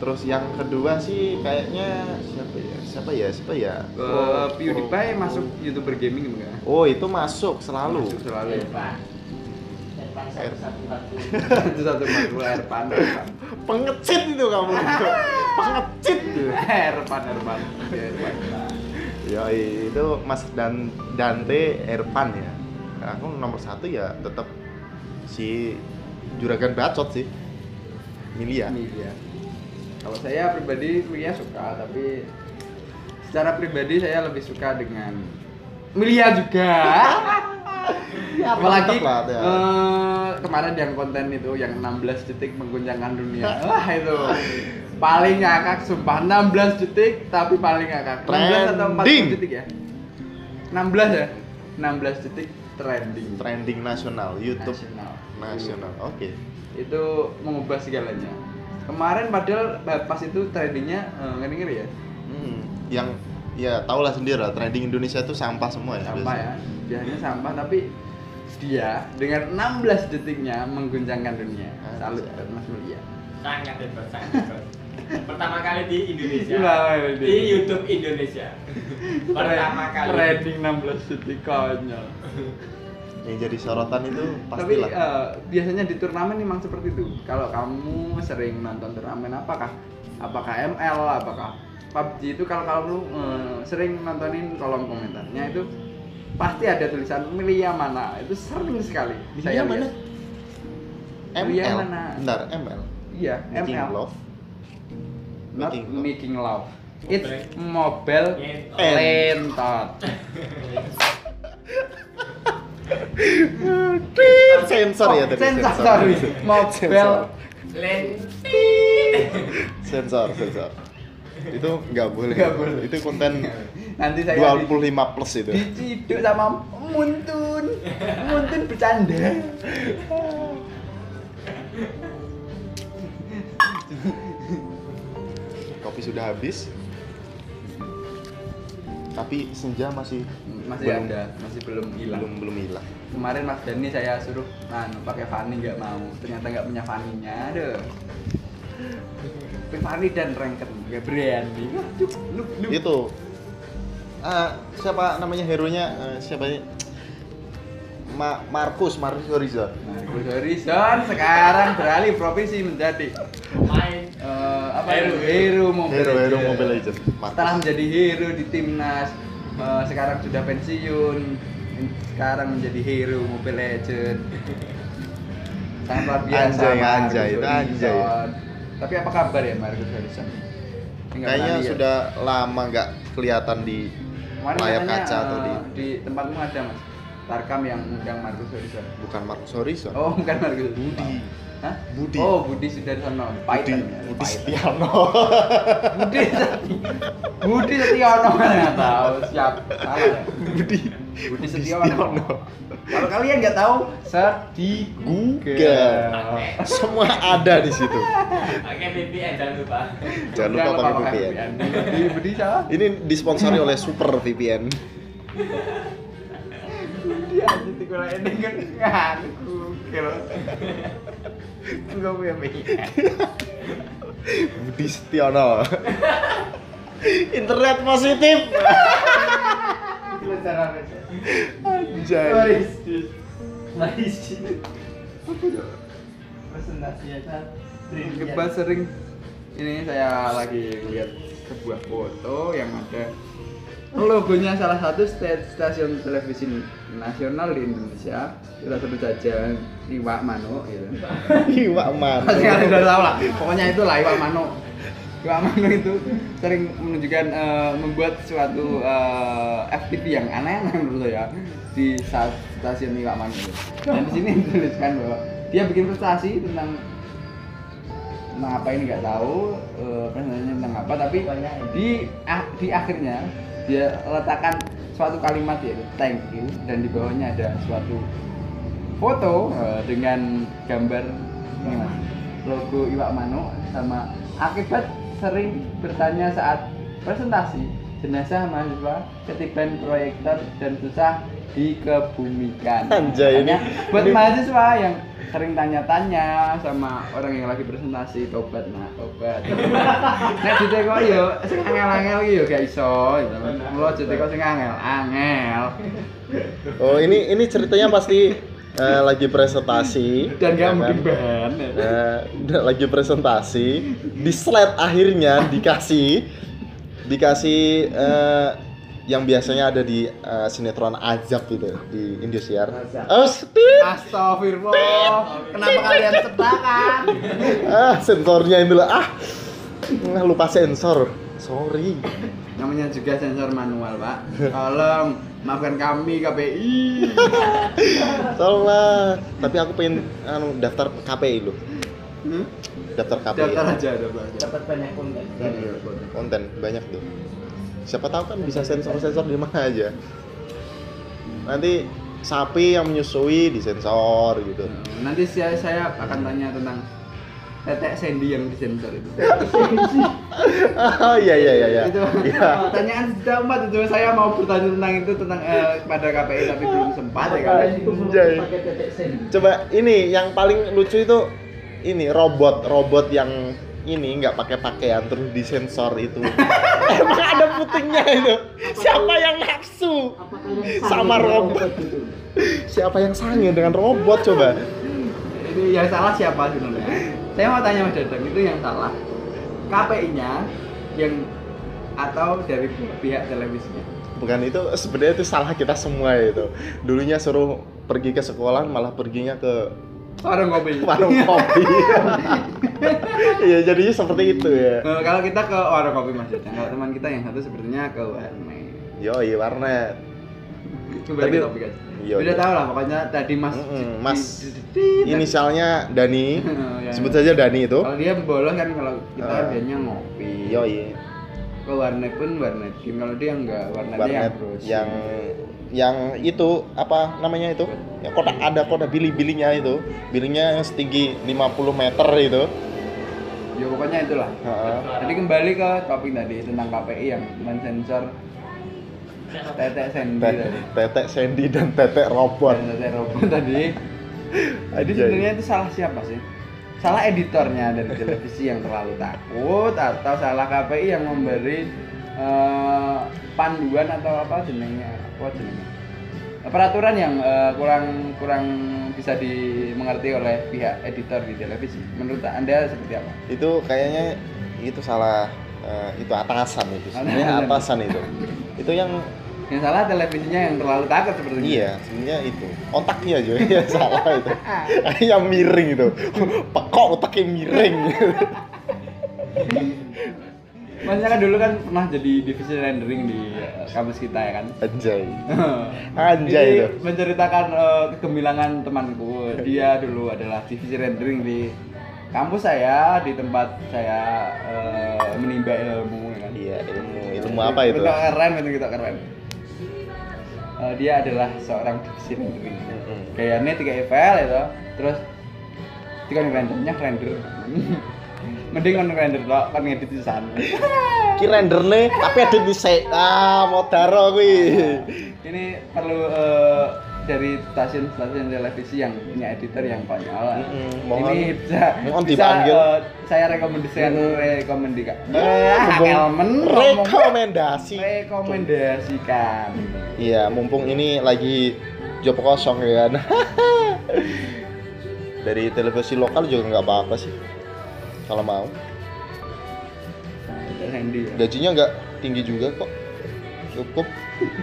S1: terus yang kedua sih kayaknya siapa ya siapa ya siapa ya
S2: Eh, PewDiePie masuk youtuber gaming enggak
S1: oh itu masuk selalu
S2: masuk selalu ya
S5: Depan. Depan satu-satu.
S2: itu satu makhluk Erpan Erpan
S1: pengecit itu kamu pengecit
S2: Erpan Erpan Ya, Erpan
S1: ya itu Mas Dan Dante Erpan ya aku nomor satu ya tetap si juragan bacot sih Milia
S2: Milia. Kalau saya pribadi Milia suka, tapi secara pribadi saya lebih suka dengan Milia juga.
S1: Ya,
S2: Apalagi
S1: mantep lah, ya.
S2: eh, kemarin yang konten itu yang 16 detik mengguncangkan dunia. Wah, itu paling ngakak sumpah 16 detik tapi paling ngakak. 16 atau 40
S1: Trending.
S2: detik ya? 16 ya? 16 detik trending.
S1: trending nasional YouTube
S2: Nasional.
S1: nasional oke
S2: itu mengubah segalanya kemarin padahal pas itu tradingnya eh, ngeri ngeri ya
S1: Hmm, yang ya tau lah sendiri lah trending Indonesia itu sampah semua ya
S2: sampah ya biasanya sampah tapi dia dengan 16 detiknya mengguncangkan dunia
S1: Ah,
S2: salut
S1: bisa.
S2: buat Mas Mulia
S5: Sangat hebat, sangat hebat. Pertama kali di
S1: Iya,
S5: Indonesia.
S2: Pertama kali di-
S5: Di YouTube Indonesia. Pertama kali.
S2: trading 16 detik konyol
S1: yang jadi sorotan itu
S2: tapi
S1: pastilah
S2: eh, biasanya di turnamen memang seperti itu kalau kamu sering nonton turnamen apakah apakah ML apakah PUBG itu kalau kamu eh, sering nontonin kolom komentarnya itu pasti ada tulisan Milia mana itu sering sekali
S1: Milia mana?
S2: lihat. Milia
S1: ML
S2: mana?
S1: bentar ML
S2: iya
S1: Making
S2: ML
S1: love
S2: not
S1: Making love.
S2: making love it's mobile
S5: Ngentot.
S2: lentot
S1: Tit, sensor ya tadi
S2: Oh, sensor sorry mobile
S1: Sensor.
S5: Lentit.
S1: sensor sensor itu nggak boleh
S2: Nggak boleh.
S1: itu konten
S2: nanti saya
S1: 25 plus itu
S2: diciduk sama Muntun Muntun bercanda
S1: kopi sudah habis tapi senja masih
S2: masih
S1: belum-
S2: ada masih belum hilang
S1: belum belum hilang
S2: kemarin Mas Dani saya suruh nah pakai Fanny nggak mau ternyata nggak punya Fanny-nya aduh pakai Fanny dan Ranken nggak berani Wah, cuk, lu, lu.
S1: itu ah, siapa namanya hero nya siapa ini Ma Markus Markus Horizon
S2: Nah, Gus Horizon sekarang beralih profesi menjadi
S5: Main.
S2: eh, apa
S5: Hero.
S2: hero hero Mobile
S1: hero hero
S2: Legends.
S1: Mobile Legends Markus.
S2: setelah menjadi hero di timnas eh, sekarang sudah pensiun sekarang menjadi hero Mobile Legends sangat luar biasa
S1: Anjay,
S2: Marcus
S1: anjay, itu
S2: Horizon.
S1: anjay.
S2: tapi apa kabar ya Marcus Horizon Nggak ya.
S1: kayaknya
S2: pernah lihat.
S1: sudah lama nggak kelihatan di
S2: Kemarin
S1: layar
S2: katanya,
S1: kaca atau di
S2: eh, di tempatmu ada mas Tarkam yang undang Marcus Horizon
S1: bukan Markus Horizon
S2: oh bukan Marcus
S1: Budi
S2: Hah?
S1: Budi.
S2: Oh, Budi Sudarsono.
S1: Budi
S2: Python. ya,
S1: Budi
S2: Python.
S1: Setiano
S2: Budi Budi Setiono nggak tahu siap salah ya?
S1: Budi
S2: Budi Setiono kalau kalian nggak tahu search di
S1: Google semua ada di situ
S5: Oke, BBM eh, jangan lupa.
S1: jangan lupa pakai VPN
S2: Budi Budi siapa
S1: ini disponsori oleh Super VPN
S2: Dia aja tiga lain kan nganu gokil.
S1: Oh, iya,
S2: Enggak punya mikir.
S1: Budi Setiono. Internet positif.
S3: Itu cara besar.
S1: Anjay.
S5: Lari sih.
S3: Presentasi ya kan.
S2: Kebas sering ini saya lagi lihat sebuah foto yang ada logonya salah satu sta- stasiun televisi nasional di Indonesia kita sebut saja Iwak Mano gitu
S1: Iwak man.
S2: pasti kalian sudah tahu lah pokoknya itu lah Iwak Mano Iwak Mano itu sering menunjukkan eh, membuat suatu eh, FTV yang aneh-aneh menurut saya di sa- stasiun Iwak Mano itu. dan di sini dituliskan bahwa dia bikin prestasi tentang tentang apa ini nggak tahu eh, prestasinya tentang apa tapi di ah- di akhirnya dia letakkan suatu kalimat yaitu thank you dan di bawahnya ada suatu foto eh, dengan gambar ini, Mas. logo Iwak Mano sama akibat sering bertanya saat presentasi jenazah mahasiswa ketiban proyektor dan susah dikebumikan
S1: Anjay, ini-
S2: Makanya, buat
S1: ini-
S2: mahasiswa yang sering tanya-tanya sama orang yang lagi presentasi tobat nah tobat nek ditekok yo sing angel-angel iki yo gak iso gitu. Mula aja teko sing angel angel
S1: Oh, ini ini ceritanya pasti eh, lagi presentasi ya
S2: dan gak
S1: kan?
S2: mungkin bahan
S1: Eh, udah lagi presentasi di slide akhirnya dikasih dikasih eh, yang biasanya ada di eh, sinetron Azab itu di Indosiar. Oh, sedih.
S2: Astagfirullah, kenapa kalian sebakan?
S1: ah sensornya itu lah ah Nah, lupa sensor sorry
S2: Namanya juga sensor manual, Pak. Tolong maafkan kami KPI.
S1: tolonglah tapi aku pengen anu, daftar KPI lo
S2: Hmm?
S1: daftar KPI
S2: Daftar aja, daftar aja.
S3: Dapat banyak konten.
S1: Hmm, konten banyak tuh siapa tahu kan bisa sensor sensor di mana aja nanti sapi yang menyusui disensor gitu
S2: Nanti saya saya akan tanya tentang tetek Sandy yang disensor itu.
S1: ah iya iya iya iya
S2: Itu pertanyaan sudah umat itu saya mau bertanya tentang itu tentang eh, kepada KPI tapi belum sempat ya kan.
S1: Anjay. coba ini yang paling lucu itu ini robot robot yang ini nggak pakai pakaian terus disensor itu emang ada putingnya itu siapa yang nafsu sama robot siapa yang sange dengan robot coba
S2: Itu yang ya salah siapa sebenarnya? Saya mau tanya Mas Dadang itu yang salah KPI-nya yang atau dari pihak televisinya?
S1: bukan itu sebenarnya itu salah kita semua itu dulunya suruh pergi ke sekolah malah perginya ke
S2: Warung kopi.
S1: warung kopi iya jadinya seperti itu ya
S2: Eh, kalau kita ke warung kopi Mas Dadang, kalau teman kita yang satu sepertinya ke warnet.
S1: yoi warnet
S2: Kembali
S1: Tapi-
S2: ke topik aja.
S1: Iya,
S2: Udah
S1: iya.
S2: tahu lah pokoknya tadi Mas
S1: Mm-mm, Mas
S2: ini
S1: inisialnya Dani
S2: Ya,
S1: sebut
S2: ya.
S1: saja Dani itu
S2: kalau dia bolong kan kalau kita
S1: Ah. Iya,
S2: biasanya ngopi.
S1: yoi
S2: Ke warnet pun warnet game kalau dia enggak warnetnya
S1: warnet
S2: yang browsing.
S1: yang yang itu apa namanya itu yang kotak ada kotak bili-bilinya itu bilinya yang setinggi 50 meter itu
S2: ya pokoknya itulah.
S1: Heeh.
S2: Jadi kembali ke topik tadi tentang KPI yang mensensor tetek sendi
S1: Te-
S2: tadi.
S1: tetek Sandy dan tetek robot
S2: Dan Tetek robot tadi. Jadi
S1: Anjay.
S2: sebenarnya itu salah siapa sih? Salah editornya dari televisi yang terlalu takut atau salah KPI yang memberi eh, panduan atau apa jenenge? Apa jenenge? Peraturan yang eh, kurang kurang bisa dimengerti oleh pihak editor di televisi. Menurut Anda seperti apa?
S1: itu kayaknya itu salah eh, itu atasan itu sebenarnya atasan itu itu yang
S2: Yang salah televisinya yang terlalu takut sepertinya.
S1: iya sebenarnya itu otaknya aja yang salah itu yang miring itu pekok otaknya miring
S2: Maksudnya kan dulu kan pernah jadi divisi rendering di eh, kampus kita ya kan.
S1: anjay Anjay
S2: Ini
S1: itu.
S2: menceritakan eh, kegemilangan temanku. Dia dulu adalah divisi rendering di kampus saya, di tempat saya eh, menimba ilmu ya kan.
S1: iya ilmu ilmu apa itu
S2: Bentuk keren, bentuk kita keren. Eh, dia adalah seorang divisi rendering.
S1: Mm-mm.
S2: ya Kayaknya tiga EVL itu, terus tiga rendernya render. Mending kan render lo, kan ngedit di sana.
S1: Ki renderne tapi ada bisa. Ah, modaro kuwi.
S2: Ini perlu eh, dari stasiun-stasiun televisi yang punya editor yang konyol.
S1: Mm-mm, mohon-
S2: Ini bisa,
S1: mohon
S2: bisa
S1: dipanggil.
S2: eh, saya rekomendasikan rekomendika. Ah,
S1: Ya, mumpung
S2: Helmen,
S1: rekomendasi.
S2: Eh, rekomendasikan.
S1: Iya, mumpung ini lagi job kosong ya kan. Dari televisi lokal juga nggak apa-apa sih. Kalau mau,
S2: Randy. ya.
S1: gajinya nggak tinggi juga kok. Cukup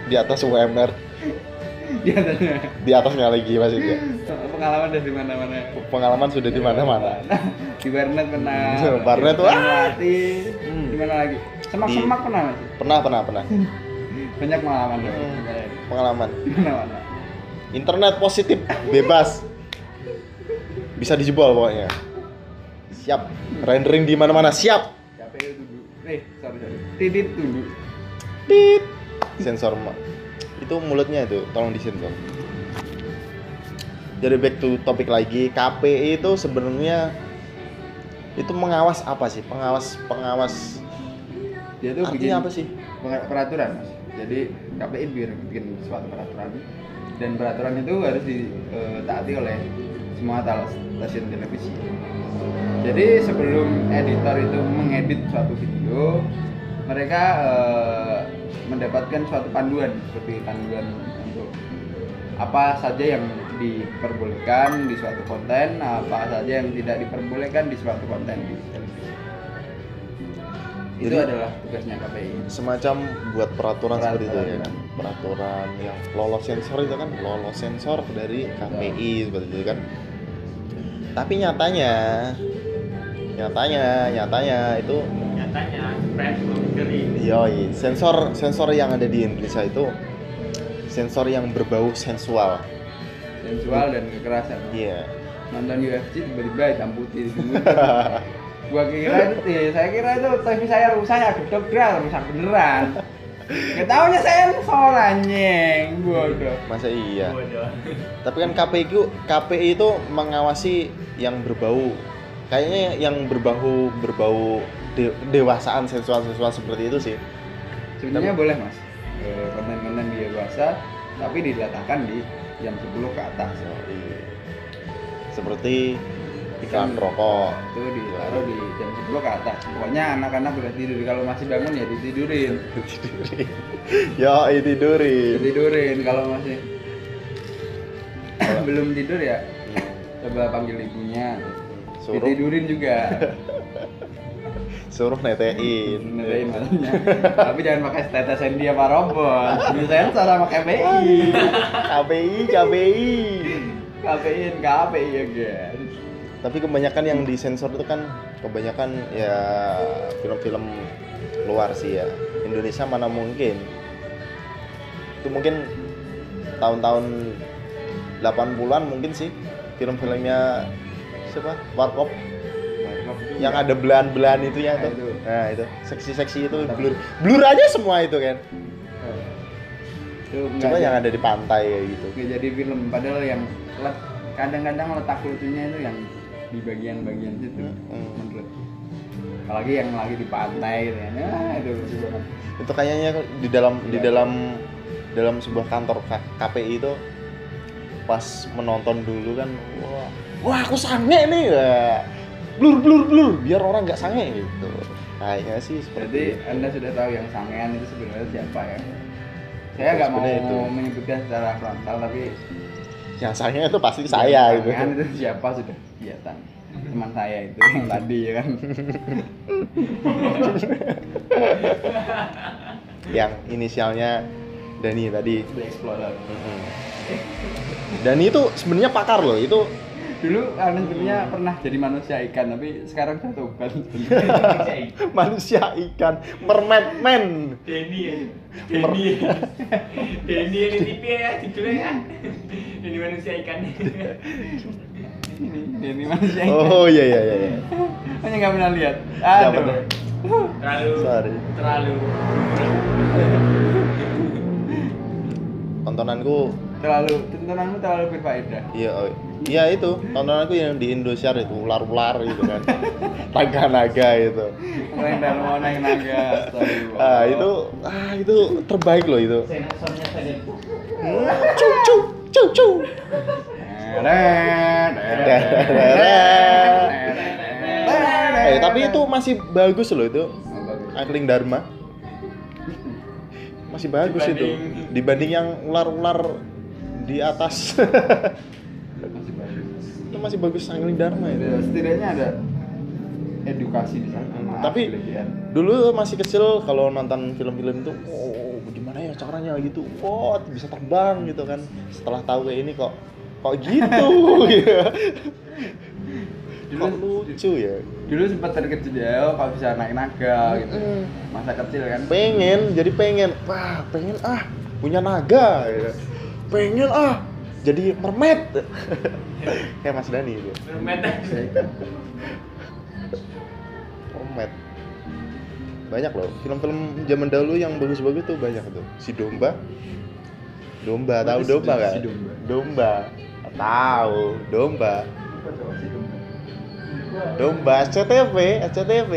S1: di atas UMR,
S2: Dia tanya,
S1: di atasnya lagi maksudnya.
S2: Iya, pengalaman dari mana-mana.
S1: Pengalaman sudah di mana-mana.
S2: Di warnet pernah.
S1: Di warnet,
S2: di
S1: wah.
S2: Fatmawati,
S1: Hmm.
S2: Di mana lagi? Semak-semak pernah nggak sih?
S1: Pernah, pernah, pernah.
S2: Banyak pengalaman dong.
S1: Hmm. Pengalaman.
S2: Di mana-mana.
S1: Internet positif, bebas. Bisa dijebol pokoknya. Siap. Rendering di mana-mana, siap.
S2: KPU tunduk. Eh, sorry sorry. Titit tunduk.
S1: Tit. Sensor mo- itu mulutnya itu, tolong disensor. Jadi back to topik lagi, KPI itu sebenarnya itu mengawas apa sih? Pengawas pengawas
S2: Dia tuh bikin
S1: artinya apa sih?
S2: peng- peraturan mas. Jadi KPI biar bikin suatu peraturan dan peraturan itu harus ditaati oleh semua tal- stasiun televisi. Jadi sebelum editor itu mengedit suatu video, mereka eh, mendapatkan suatu panduan seperti panduan untuk apa saja yang diperbolehkan di suatu konten, apa saja yang tidak diperbolehkan di suatu konten di televisi. itu
S1: Jadi-
S2: adalah tugasnya KPI.
S1: Semacam buat peraturan, seperti itu ya
S2: Peraturan.
S1: kan. Peraturan yang lolos sensor itu kan lolos sensor dari KPI seperti itu kan. Tapi nyatanya nyatanya nyatanya itu
S5: Nyatanya, friend belum diri.
S1: Yoi, sensor sensor yang ada di Indonesia itu sensor yang berbau sensual.
S2: sensual dan kekerasan
S1: Iya.
S2: nonton UFC tiba-tiba hitam putih di sini. gua kira itu ya, saya kira itu TV saya rusak ya gedok dral rusak beneran gak taunya saya sensor anjing bodoh
S1: Masa iya.
S5: Bodoh.
S1: Tapi kan KPI itu KPI itu mengawasi yang berbau kayaknya yang berbau berbau de- dewasaan sensual-sensual seperti itu sih.
S2: sebenarnya boleh mas Eh, konten-konten dia bahasa tapi diletakkan di jam 10 ke atas
S1: Yoi. Seperti iklan rokok.
S2: itu ditaruh di jam 10 ke atas pokoknya anak-anak udah tidur kalau masih bangun ya ditidurin
S1: Tidurin. Yoi, tidurin.
S2: tidurin kalau masih belum tidur ya coba panggil ibunya
S1: Suruh.
S2: ditidurin juga
S1: Suruh netein.
S2: Benerin malamnya. tapi jangan pakai tetesan dia pak robot desain sama KPI
S1: KPI, KPI.
S2: KPI KPI ya guys
S1: tapi kebanyakan yang disensor itu kan kebanyakan ya film-film luar sih ya Indonesia mana mungkin itu mungkin tahun-tahun 80-an mungkin sih film-filmnya siapa Warkop Ya yang ada belahan-belahan itu ya
S2: Iya. Nah,
S1: itu.
S2: itu.
S1: Nah itu seksi-seksi itu
S2: Tapi-
S1: blur blur aja semua itu kan
S2: itu
S1: cuma
S2: nggak
S1: yang ada
S2: jadi-
S1: di pantai kayak gitu
S2: nggak jadi film padahal yang let- kadang-kadang letak lucunya itu yang di bagian-bagian situ
S1: Mm-mm.
S2: menurut apalagi yang lagi di pantai gitu ya nah, itu lucu banget
S1: itu kayaknya di dalam di
S2: Iya.
S1: dalam dalam sebuah kantor K- KPI itu pas menonton dulu kan wah, wah aku sange nih Wah, blur blur blur biar orang nggak sange gitu kayaknya sih
S2: Berarti
S1: seperti
S2: Anda sudah tahu yang sangean itu sebenarnya siapa ya? Saya
S1: Itu
S2: nggak mau
S1: sebenarnya itu.
S2: menyebutkan secara frontal tapi
S1: yang sange itu pasti saya
S2: yang
S1: gitu
S2: sangean itu siapa sudah kelihatan. Teman saya itu yang tadi ya kan.
S1: yang inisialnya Dani tadi
S2: The Explorer.
S1: Mm-mm. Dani itu sebenarnya pakar loh itu
S2: Dulu Anda sebenarnya pernah jadi manusia ikan tapi sekarang sudah tobat.
S1: manusia ikan mermaid man
S5: Denny ya. Denny ya. Denny ini tipe ya judulnya ya. Denny manusia ikan.
S2: ini ini manusia ikan.
S1: oh iya iya iya iya.
S2: Hanya nggak pernah lihat.
S1: Nggak
S2: Aduh.
S1: pernah.
S5: Terlalu.
S1: Sorry.
S5: Terlalu.
S1: tontonanku
S2: terlalu tontonanmu terlalu berfaedah
S1: Iya, oh. iya itu tontonanku yang di Indosiar itu ular-ular gitu kan, naga-naga itu.
S2: keren dan mau naik naga astagfirullah.
S1: Ah itu, ah itu terbaik loh itu.
S4: Sensornya saja.
S1: Cuk cuk cuk cuk. Nah,
S2: Nah, Deret, deret,
S1: Deret.
S2: deret.
S1: Eh tapi itu masih bagus loh itu,
S2: Oh, bagus.
S1: Angling Dharma. Masih bagus itu
S5: Dibanding-
S1: dibanding yang ular-ular di atas.
S2: Masih bagus.
S1: itu masih bagus Angling Dharma itu.
S2: Ada- setidaknya ada edukasi di sana
S1: Hmm,
S2: Maaf,
S1: tapi
S2: kelebihan.
S1: dulu masih kecil kalau nonton film-film itu oh gimana ya caranya gitu wah bisa terbang gitu kan setelah tahu kayak ini kok kok gitu ya kok lucu ya
S2: dulu sempat terkejut ya oh, kalau bisa naik naga gitu
S1: Mm-mm.
S2: masa kecil kan
S1: pengen jadi pengen wah pengen ah punya naga ya. pengen ah jadi mermaid kayak Mas Dani itu
S5: Bermata.
S1: mermaid banyak loh film-film zaman dahulu yang bagus-bagus tuh banyak tuh si domba domba tahu
S2: Bagus
S1: domba
S2: tuh,
S1: kan
S2: Si Domba.
S1: domba tahu domba domba SCTV SCTV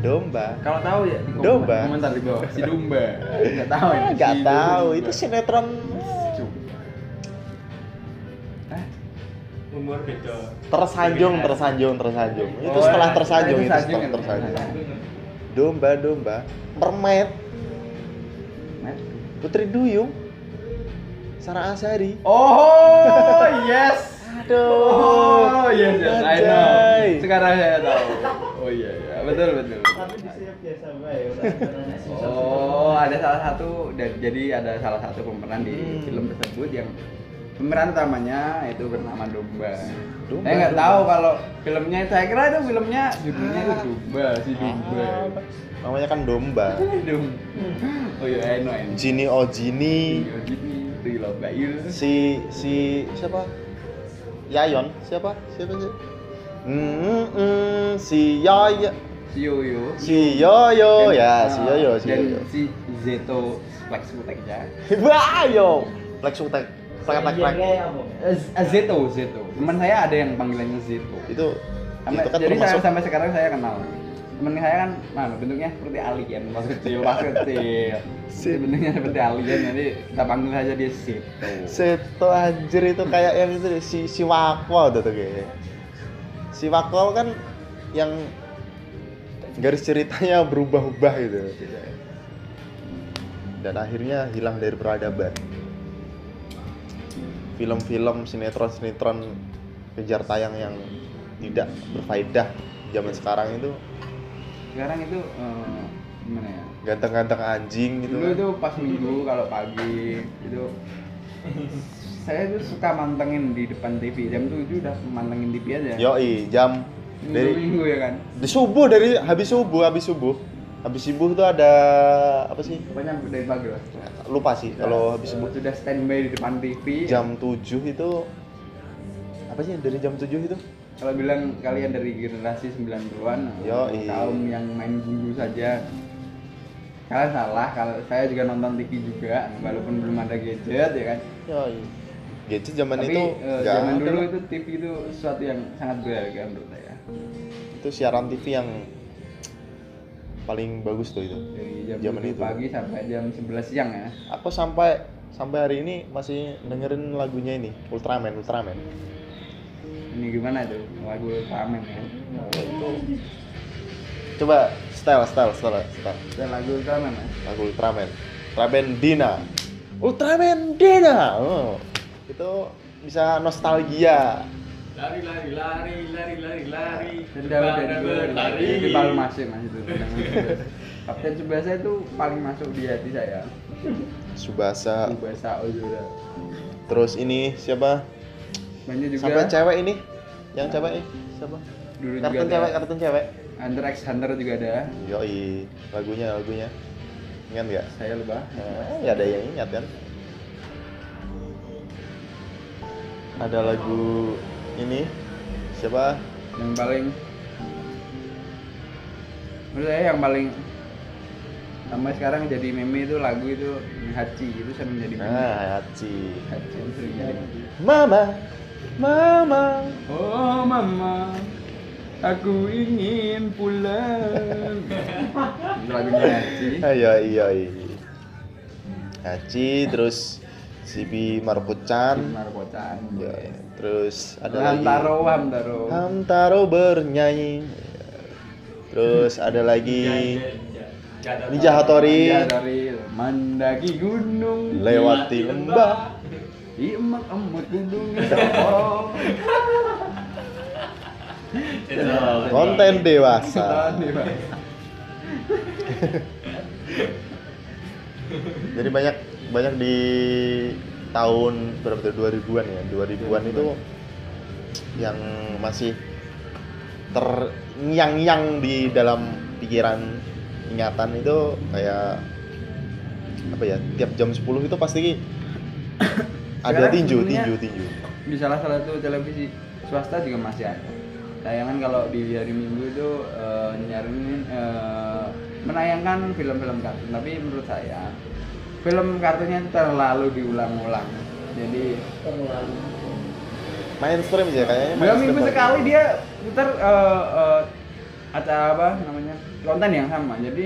S1: domba
S2: kalau tahu ya di komen-
S1: Domba.
S2: komentar di bawah si domba nggak tahu ya
S1: Ah, nggak
S2: Si
S1: tahu
S2: Domba.
S1: itu sinetron
S2: Domba. Hah?
S5: Umur beda.
S1: tersanjung tersanjung tersanjung itu
S2: Oh,
S1: setelah
S2: nah,
S1: tersanjung itu
S2: sanjung
S1: setelah
S2: kan?
S1: tersanjung domba domba mermaid
S2: Met.
S1: putri duyung Sarah Asari
S2: oh yes
S1: aduh
S2: oh yes yes I
S1: Anjay.
S2: know sekarang saya tahu oh iya iya betul betul
S3: Tapi di sini biasa bae ora ora susah.
S2: Oh, ada salah satu dan jadi ada salah satu pemeran di
S1: Hmm.
S2: film tersebut yang pemeran utamanya itu bernama Domba.
S1: Domba,
S2: saya nggak
S1: Domba.
S2: tahu kalau filmnya saya kira itu filmnya judulnya itu Domba si Domba.
S1: Ah, namanya kan domba
S2: Domba. Oh iya, I know, I know.
S1: Jini oh Jini
S2: Three Love Bayu.
S1: si si siapa Yayon siapa siapa sih Mm, mm, si Yoyo
S2: Si Yoyo.
S1: si Yoyo
S2: Dan-
S1: ya si
S2: ah,
S1: Yoyo si
S2: dan
S1: Yoyo
S2: si Zeto Flex Mutekja.
S1: wah yo plek sutek plek plek plek
S3: Kayak apa?
S2: Eh, Zeto, Zeto. Teman saya ada yang panggilannya Zeto.
S1: itu
S2: Sampai-
S1: itu kan
S2: jadi saya
S1: termasuk
S2: sampai sekarang saya kenal temen saya kan nah bentuknya seperti alien pas kecil pas kecil
S1: Sip.
S2: Jadi bentuknya seperti alien jadi kita panggil saja dia sip
S1: Seto anjir itu kayak yang itu deh, si si Wakol tuh tuh kayaknya. Si Wakol kan yang garis ceritanya berubah-ubah gitu. Dan akhirnya hilang dari peradaban. Film-film sinetron-sinetron kejar tayang yang tidak berfaedah zaman sekarang itu
S2: sekarang itu eh, gimana ya
S1: ganteng-ganteng anjing gitu.
S2: dulu itu pas minggu kalau pagi itu saya tuh suka mantengin di depan TV jam 7 udah mantengin TV aja
S1: Yoi, jam
S2: minggu,
S1: dari
S2: minggu ya kan
S1: di subuh dari habis subuh habis subuh habis subuh tuh ada apa sih
S2: pokoknya dari pagi lah
S1: lupa sih kalau habis subuh
S2: sudah standby di depan TV
S1: jam 7 itu apa sih dari jam 7 itu
S2: Kalau bilang kalian dari generasi 90-an,
S1: Yoi.
S2: kaum yang main bulu saja. Kalian salah, kalau saya juga nonton TV juga, walaupun belum ada gadget ya kan.
S1: ya iya. gadget zaman
S2: Tapi
S1: itu
S2: eh,
S1: nggak
S2: zaman
S1: ada
S2: dulu
S1: lah.
S2: itu TV itu sesuatu yang sangat berharga menurut saya.
S1: itu siaran TV yang paling bagus tuh itu
S2: Dari jam,
S1: Zaman
S2: 7
S1: itu.
S2: pagi sampai jam 11 siang ya.
S1: aku sampai sampai hari ini masih dengerin lagunya ini Ultraman Ultraman
S2: Ini gimana tuh? Lagu Ultraman ya.
S1: coba style style style style
S2: Dan lagu Ultraman ya.
S1: lagu Ultraman Ultraman Dina Ultraman Dina oh. itu bisa nostalgia
S5: Lari lari lari lari lari lari.
S2: Dendam dan berlari.
S5: berlari.
S2: Itu paling masuk mas itu. Dendam dan berlari. Kapten Tsubasa itu paling masuk di hati saya. oh, iya.
S1: Subasa
S2: Tsubasa Ozora.
S1: terus ini siapa
S2: Banyak juga.
S1: sampai cewek ini yang cewek ini siapa
S2: dulu
S1: kartun
S2: juga
S1: cewek
S2: ada
S1: kartun cewek
S2: Hunter x Hunter juga ada
S1: yoi lagunya lagunya ingat nggak
S2: saya lupa
S1: Eh, nggak ada yang ingat kan ada lagu ini siapa
S2: yang paling menurut saya yang paling Sampai sekarang jadi meme itu lagu itu Haji itu sering jadi meme.
S1: Nah, Haji.
S2: Haji itu sering jadi meme.
S1: Mama, mama.
S2: Oh mama, aku ingin pulang. itu lagunya Haji.
S1: Ayo, iya, iya. Haji, terus Sibi Markucan.
S2: Markocan.
S1: Kan. Ya, terus ada lagi.
S2: Hamtaro, Hamtaro.
S1: Hamtaro bernyanyi. Terus ada lagi Ninja Hattori
S2: Dari mendaki gunung,
S1: lewati lembah.
S2: imak emut gunung.
S1: Konten dewasa.
S2: Tahan nih, Pak.
S1: Jadi banyak banyak di tahun berapa tuh 2000-an ya. 2000-an itu yang masih terngiang-ngiang di dalam pikiran ingatan itu kayak apa ya tiap jam 10 itu pasti ada
S2: Sekarang
S1: tinju
S2: sebenarnya-
S1: tinju tinju
S2: di salah satu televisi swasta juga masih ada tayangan kalau di hari minggu itu eh, nyaringin eh, menayangkan film-film kartun tapi menurut saya film kartunnya terlalu diulang-ulang jadi
S1: mainstream sih kayaknya
S2: dua
S1: mainstream
S2: minggu
S1: banget.
S2: sekali dia putar eh, eh, acara apa namanya konten yang sama jadi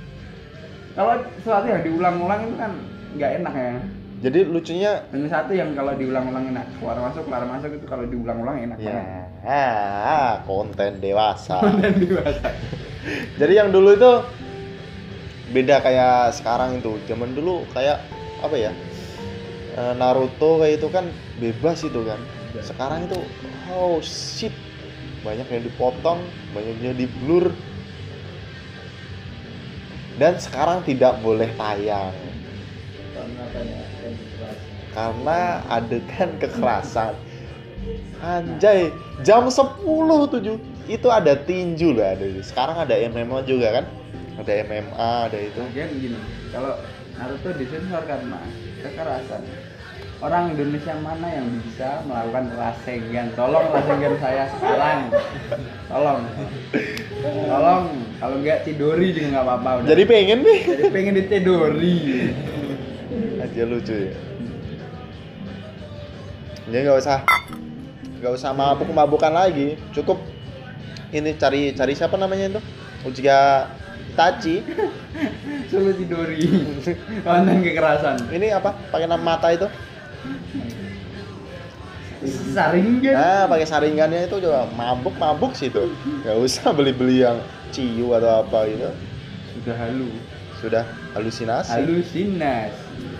S2: kalau sesuatu yang diulang-ulang itu kan nggak enak ya
S1: jadi lucunya
S2: hanya satu yang kalau diulang-ulang enak keluar masuk keluar masuk itu kalau diulang-ulang enak
S1: ya
S2: banget.
S1: ah, konten dewasa
S2: konten dewasa
S1: jadi yang dulu itu beda kayak sekarang itu zaman dulu kayak apa ya eh, Naruto kayak itu kan bebas itu kan sekarang itu oh shit banyak yang dipotong banyak yang di blur dan sekarang tidak boleh tayang karena adegan kekerasan anjay jam 10.07 itu ada tinju lah ada sekarang ada MMA juga kan ada MMA ada itu
S2: Lagian gini, kalau Naruto disensor karena kekerasan. Orang Indonesia mana yang bisa melakukan rasengan? Tolong rasengan saya sekarang. Tolong. Tolong. Kalau nggak tidori juga nggak apa-apa. udah.
S1: jadi pengen nih
S2: Jadi pengen ditidori.
S1: aja lucu ya jadi nggak usah nggak usah mabuk mabukan lagi cukup ini cari cari siapa namanya itu Ujiga Itachi
S2: Suruh tidori. Konten kekerasan.
S1: ini apa pakai nama mata itu
S2: Saringan.
S1: Nah, pakai saringannya itu juga mabuk-mabuk sih itu. Gak usah beli-beli yang ciu atau apa gitu.
S2: Sudah halu.
S1: Sudah halusinasi,
S2: Halusinasi.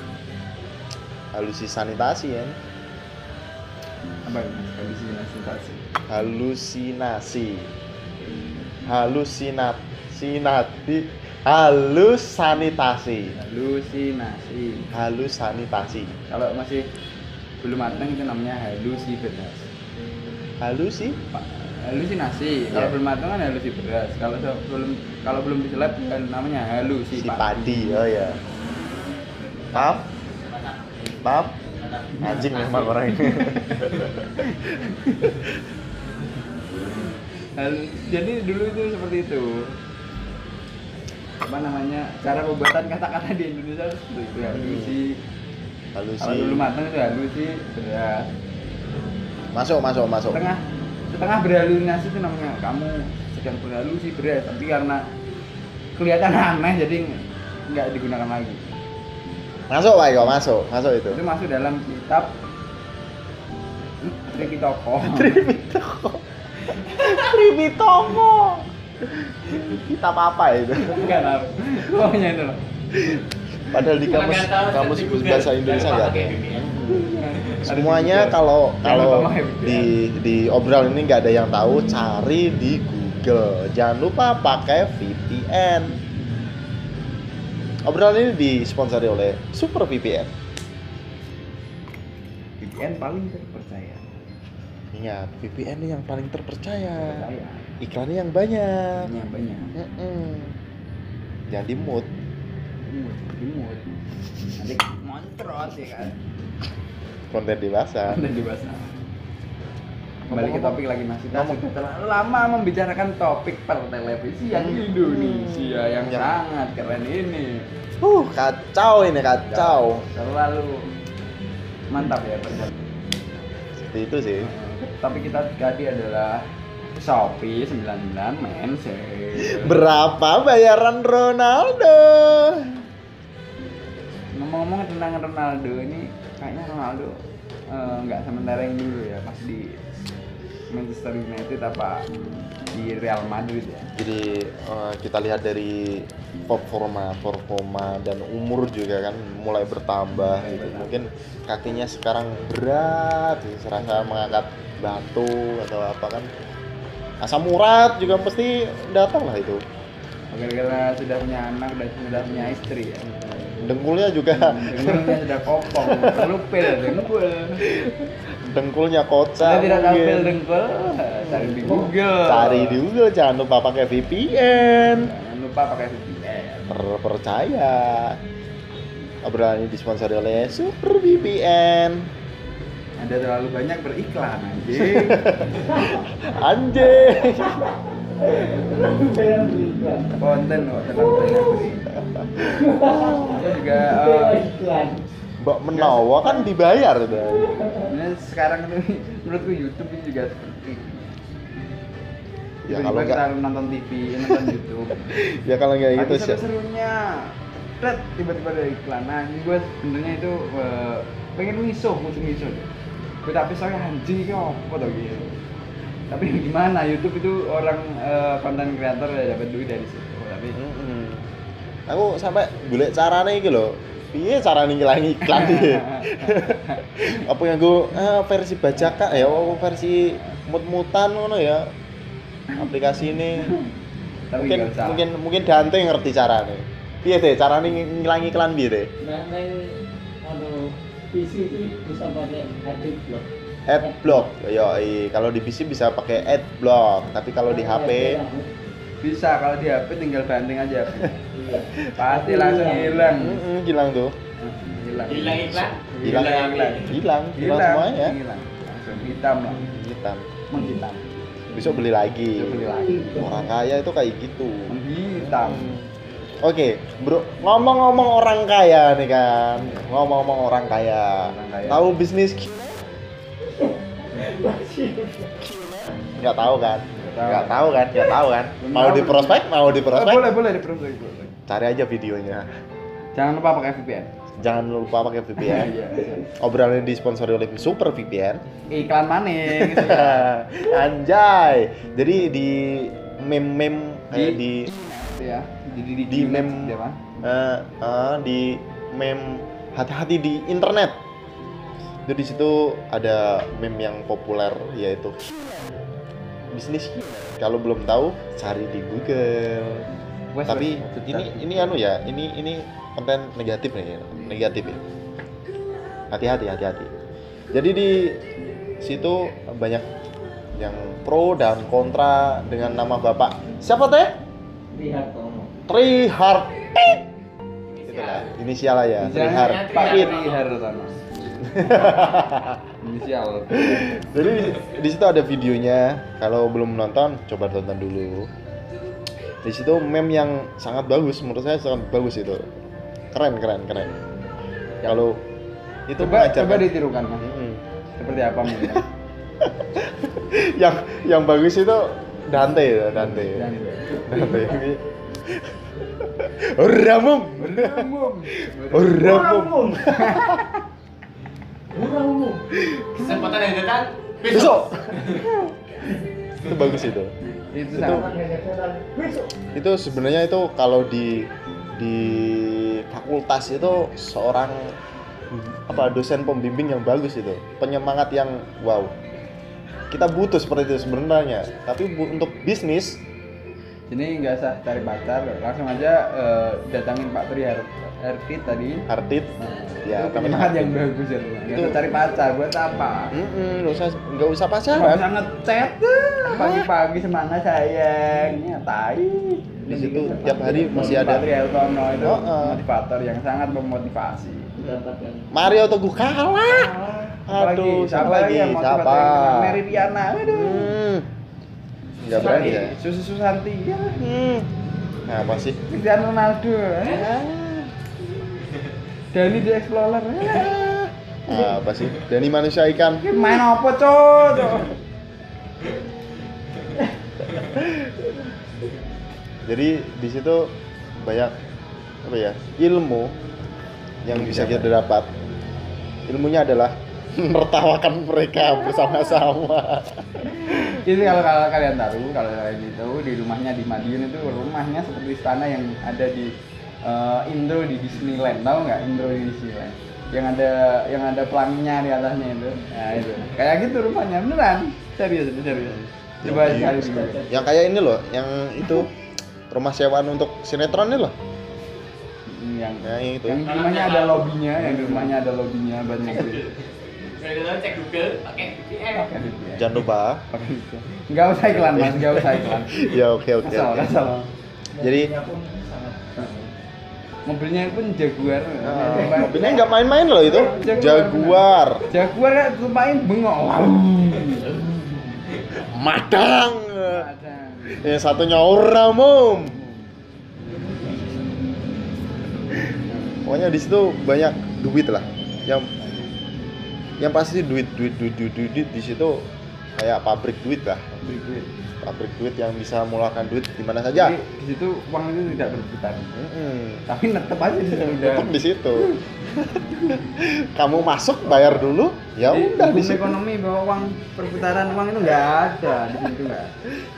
S1: halusi sanitasi ya.
S2: Apa ini? Halusinasi.
S1: Halusinasi. Halusinat, sinati, halus sanitasi.
S2: Halusinasi.
S1: Halus sanitasi.
S2: Kalau masih belum matang itu namanya halusi beras.
S1: Halusi
S2: halusinasi kalau
S1: Iya.
S2: belum matang kan halusi beras kalau se- belum kalau belum diselap kan namanya halusi
S1: si padi, oh ya. Maaf. Maaf. Anjing memang orang ini.
S2: Halu- jadi dulu itu seperti itu apa namanya cara pembuatan kata-kata di Indonesia itu seperti itu halusi kalau
S1: Halusi.
S2: belum matang itu halusi beras
S1: Masuk, masuk, masuk.
S2: setengah setengah berhalusinasi itu namanya kamu sedang berhalusi beras tapi karena kelihatan aneh jadi nggak digunakan lagi
S1: Masuk, Pak Iko, masuk. Masuk itu.
S2: itu masuk dalam kitab Tripitoko
S1: Tribitongo. Kitab apa itu?
S2: Enggak tahu. Pokoknya itu loh.
S1: Padahal di kamus
S5: Nggak tahu,
S1: kamus
S5: search di Google.
S1: bahasa Indonesia ya,
S5: Jangan
S1: nggak
S5: ya. pakai
S1: ada.
S5: VPN.
S1: Semuanya kalau
S2: Jangan
S1: kalau
S2: lupa pakai VPN.
S1: di di obral ini nggak ada yang tahu, cari di Google. Jangan lupa pakai VPN. Obral ini disponsori oleh Super VPN.
S2: VPN paling terpercaya.
S1: Ingat, VPN ini yang paling terpercaya.
S2: Percaya.
S1: Iklannya yang banyak.
S2: Banyak banyak.
S1: Mm-mm. Jangan di mute.
S2: Imut, imut. Nanti montrot ya kan.
S1: konten dewasa
S2: Ada di bahasa. kembali ke topik lagi mas kita sudah terlalu lama membicarakan topik per televisi
S1: Hmm.
S2: yang Indonesia yang
S1: Yang-
S2: sangat keren ini
S1: Uh, kacau ini kacau.
S2: terlalu mantap ya perjalanan
S1: Seperti itu sih.
S2: tapi kita tadi adalah Shopee 99 men sale.
S1: Berapa bayaran Ronaldo?
S2: Ngomong-ngomong tentang Ronaldo ini kayaknya Ronaldo eh, nggak sementara yang dulu ya pas di Manchester United apa di Real Madrid ya.
S1: Jadi eh, kita lihat dari performa, performa dan umur juga kan mulai bertambah. gitu. Mungkin kakinya sekarang berat, gitu. serasa mengangkat batu atau apa kan. Asam urat juga pasti datang lah itu.
S2: Gara-gara sudah punya anak dan sudah punya istri ya.
S1: Dengkulnya juga,
S2: Hmm. Dengkulnya sudah kopong, perlu pil dengkul.
S1: dengkulnya kocak.
S2: Saya tidak tahu
S1: mungkin.
S2: pil dengkul, cari di Google.
S1: Cari di Google, jangan lupa pakai VPN.
S2: Jangan lupa pakai VPN.
S1: terpercaya. Obrolan ini disponsori oleh Super VPN.
S2: Anda terlalu banyak beriklan anjing.
S1: Anjing.
S2: Konten kok terlalu banyak beriklan. Saya juga eh,
S1: Mbak Menawa kan dibayar udah.
S2: sebenarnya sekarang itu menurutku YouTube ini juga seperti
S1: Ya
S2: Tiba-tiba
S1: kalau
S2: kita
S1: nggak
S2: nonton TV, nonton YouTube.
S1: ya kalau nggak gitu
S2: Tapi
S1: sih.
S2: seru-serunya tet, tiba-tiba ada iklan. Nah, ini gue sebenarnya itu eh, pengen miso, musuh miso. Gue tapi soalnya anjing iki apa tau gitu. Tapi gimana YouTube itu orang eh, konten kreator ya dapat duit dari situ. Tapi
S1: Mm-mm. Aku sampai golek carane iki lho. Piye carane ngilangi iklan iki? Apa yang gue versi bajakan ya apa versi mut-mutan ngono ya. Aplikasi ini
S2: tapi
S1: mungkin
S2: nggak usah.
S1: mungkin mungkin Dante ngerti carane. Piye teh carane ng- ngilangi iklan piye teh?
S6: Nah, neng anu PC itu bisa pakai hard block.
S1: Adblock, yo kalau di PC bisa pakai adblock, tapi kalau di
S2: Iya,
S1: HP
S2: bisa kalau di HP tinggal banting aja. Pasti langsung hilang.
S1: mm-mm, hilang tuh,
S2: Hilang.
S5: Hilang iklan.
S1: Hilang
S2: iklan.
S1: hilang, hilang semuanya,
S2: Hilang. Langsung hitam lah.
S1: hitam.
S2: Menghitam.
S1: Iya. Besok beli lagi.
S2: Beli lagi.
S1: Orang kaya itu kayak gitu.
S2: Menghitam.
S1: Oke, bro, ngomong-ngomong orang kaya nih kan, ngomong-ngomong orang kaya,
S2: Orang kaya.
S1: tahu bisnis? ki- Nggak tahu kan?
S2: tahu.
S1: Nggak tahu kan? Nggak tahu kan?
S2: Belum
S1: Mau
S2: tahu.
S1: di prospek? Mau di
S2: Eh,
S1: prospek?
S2: boleh, boleh diproses. boleh.
S1: Cari aja videonya.
S2: Jangan lupa pakai VPN.
S1: Jangan lupa pakai VPN.
S2: Iya.
S1: obrolan ini disponsori oleh Super VPN.
S2: Iklan maning. gitu ya.
S1: Anjay. Jadi di meme-meme eh, di
S2: Gitu ya. Jadi di,
S1: di meme
S2: gitu ya, Pak.
S1: eh, eh, di meme hati-hati di internet. Itu di situ ada meme yang populer yaitu bisnis. Kalau belum tahu cari di Google.
S2: Wes,
S1: Tapi
S2: wes.
S1: ini ini anu ya, ini ini konten negatif nih, negatif ya. Hati-hati, hati-hati. Jadi di situ banyak yang pro dan kontra dengan nama bapak. Siapa teh?
S6: lihat kamu.
S1: Trihar. Itulah Gitu inisial aja, Trihar.
S2: Inisialnya Pak
S5: Trihar.
S2: Hartono. Inisial.
S1: Jadi di- di situ ada videonya. Kalau belum nonton, coba tonton dulu. Di situ meme yang sangat bagus, menurut saya sangat bagus itu. Keren, keren, keren. Kalau itu
S2: Ya. Coba
S1: mengajarkan- Iya.
S2: coba ditirukan Mas.
S1: Mm-mm.
S2: Seperti apa meme?
S1: yang yang bagus itu Dante ya, Dante.
S2: Dan
S1: Dante. Ramum. Ramum.
S5: Kesempatan yang datang
S1: Besok. itu bagus itu.
S2: itu
S1: Itu-
S2: sama.
S1: itu sebenarnya itu kalau di di fakultas itu seorang apa dosen pembimbing yang bagus itu penyemangat yang wow kita butuh seperti itu sebenarnya tapi bu- untuk bisnis
S2: Jadi nggak usah cari pacar, langsung aja eh, datangin Pak Tri Har- Hartit tadi.
S1: artit
S2: Ya,
S1: ya
S2: itu
S1: tapi
S2: penyemangat yang bagus ya. Nggak
S1: Itu-
S2: usah cari pacar, buat apa?
S1: Mm-mm, nggak usah nggak usah
S2: Nggak
S1: pacaran
S2: usah ngechat eh, pagi-pagi semangat sayang. Ya, tai.
S1: Di situ tiap hari masih ada-
S2: Pak Tri Hartono itu
S1: Oh, eh.
S2: motivator yang sangat memotivasi.
S6: Mendapatkan
S1: Mario Teguh kalah Aduh, Ah, siapa lagi?
S2: yang mau
S1: Siapa?
S2: coba-coba? Mary Riana. Aduh.
S1: Hmm. Enggak berani ya.
S2: Susi Susanti ya.
S1: Hmm. Nah, apa sih?
S2: Cristiano Ronaldo. ya. Dani the Explorer. ya.
S1: Nah, apa sih? Dani manusia ikan.
S2: Ini Eh, Main apa, Cok? Cok?
S1: Jadi di situ banyak apa ya? Ilmu yang bisa kita dapat. Ilmunya adalah menertawakan mereka bersama-sama.
S2: Jadi kalau, kalau kalian tahu, kalau kalian itu di rumahnya di Madiun itu rumahnya seperti istana yang ada di eh, Indro di Disneyland, tahu nggak Indro di Disneyland? Yang ada yang ada pelanginya di atasnya itu, nah itu kayak gitu rumahnya beneran, serius itu serius. Coba
S1: Yang
S2: cari
S1: di-
S2: di Google.
S1: Yang kayak ini loh, yang itu rumah sewaan untuk sinetron ini loh.
S2: Hmm, yang
S1: Nah, Yang itu.
S2: yang di rumahnya ada lobbynya, yang di rumahnya ada lobbynya banyak gitu.
S5: Saya kata cek Google pakai VPN.
S2: Pakai duit ya.
S1: Jangan lupa.
S2: Pakai duit ya. Nggak usah iklan mas, nggak usah iklan.
S1: Ya oke oke.
S2: Kasal,
S1: oke.
S2: kasal.
S1: Jadi
S2: Nah, Mobilnya pun Jaguar.
S1: nah, mobilnya nggak main-main loh itu.
S2: Jaguar.
S1: Jaguar.
S2: Jaguar kan sumpahin bengok. Wow.
S1: Madang. Yang satu nyaur mom. Pokoknya di situ banyak duit lah. Yang yang pasti duit duit duit duit duit, duit di situ kayak pabrik duit lah. Pabrik duit yang bisa mulakan duit di mana
S2: Ya.
S1: saja.
S2: Di situ uang itu tidak berputar.
S1: Mm-mm.
S2: Tapi tetap aja di situ udah.
S1: Tetap di situ. Kamu masuk bayar dulu, ya
S2: Jadi, kan
S1: udah di
S2: hukum
S1: situ.
S2: ekonomi bahwa uang perputaran uang itu nggak ada di situ nggak. ada.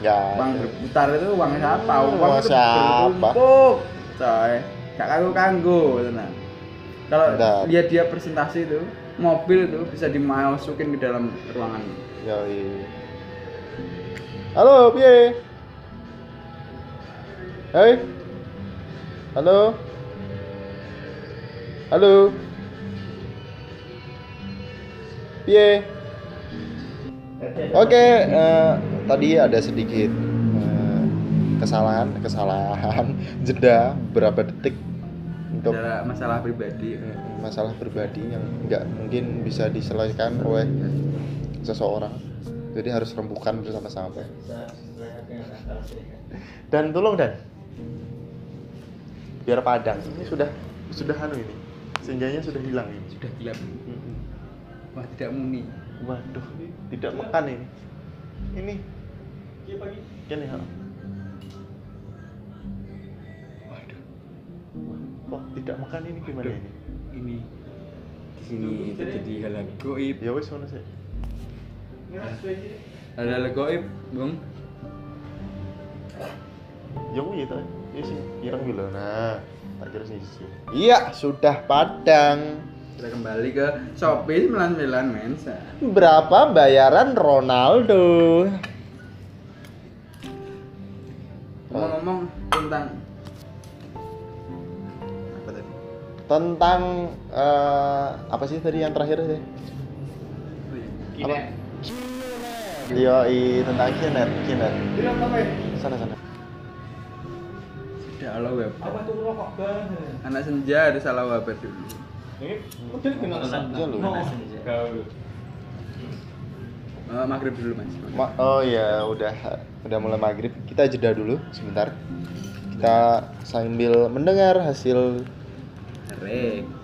S1: Ya.
S2: Uang berputar itu uang siapa?
S1: Hmm,
S2: Uang
S1: uang
S2: itu
S1: siapa?
S2: bertumpuk, coy. Gak kanggo kanggo, tenang. Kalau
S1: Bentar.
S2: lihat dia presentasi itu, mobil itu bisa dimasukin ke dalam ruangan.
S1: Yoi. Halo, piye? Hei. Halo. Halo. Piye? Oke, eh, tadi ada sedikit eh, kesalahan, kesalahan jeda beberapa detik untuk
S2: Adalah masalah pribadi.
S1: masalah pribadi yang nggak mungkin bisa diselesaikan oleh seseorang jadi harus rembukan bersama-sama dan tolong dan biar padang ini sudah sudah anu ini senjanya sudah hilang ini
S2: Sudah gila. Wah, tidak muni.
S1: waduh tidak makan ini ini ini ha.
S2: Waduh.
S1: wah tidak makan ini gimana ini
S2: ini di sini terjadi hal hal goib
S1: ya wes mana sih
S2: hal hal goib bung
S1: Ya kuwi to. Ya sih, ireng kuwi lho. Nah, tak kira siji. Iya, sudah padang.
S2: kita kembali ke shopee sembilan sembilan mensa
S1: Berapa bayaran Ronaldo?
S2: ngomong-ngomong tentang apa tadi
S1: Tentang eh, apa sih tadi yang terakhir sih?
S2: Oh iya.
S1: Apa? Yoi, tentang kiner, kiner.
S4: Bilang apa ya?
S1: Sana sana.
S2: tidak ala web
S4: Apa tuh rokok bareng?
S2: anak senja ada salah web dulu
S5: Ini mungkin kena
S1: Senja lho.
S5: gaul.
S2: Eh, maghrib dulu mas
S1: Ma- oh ya, udah udah mulai maghrib. Kita jeda dulu sebentar. Kita sambil mendengar hasil
S2: rek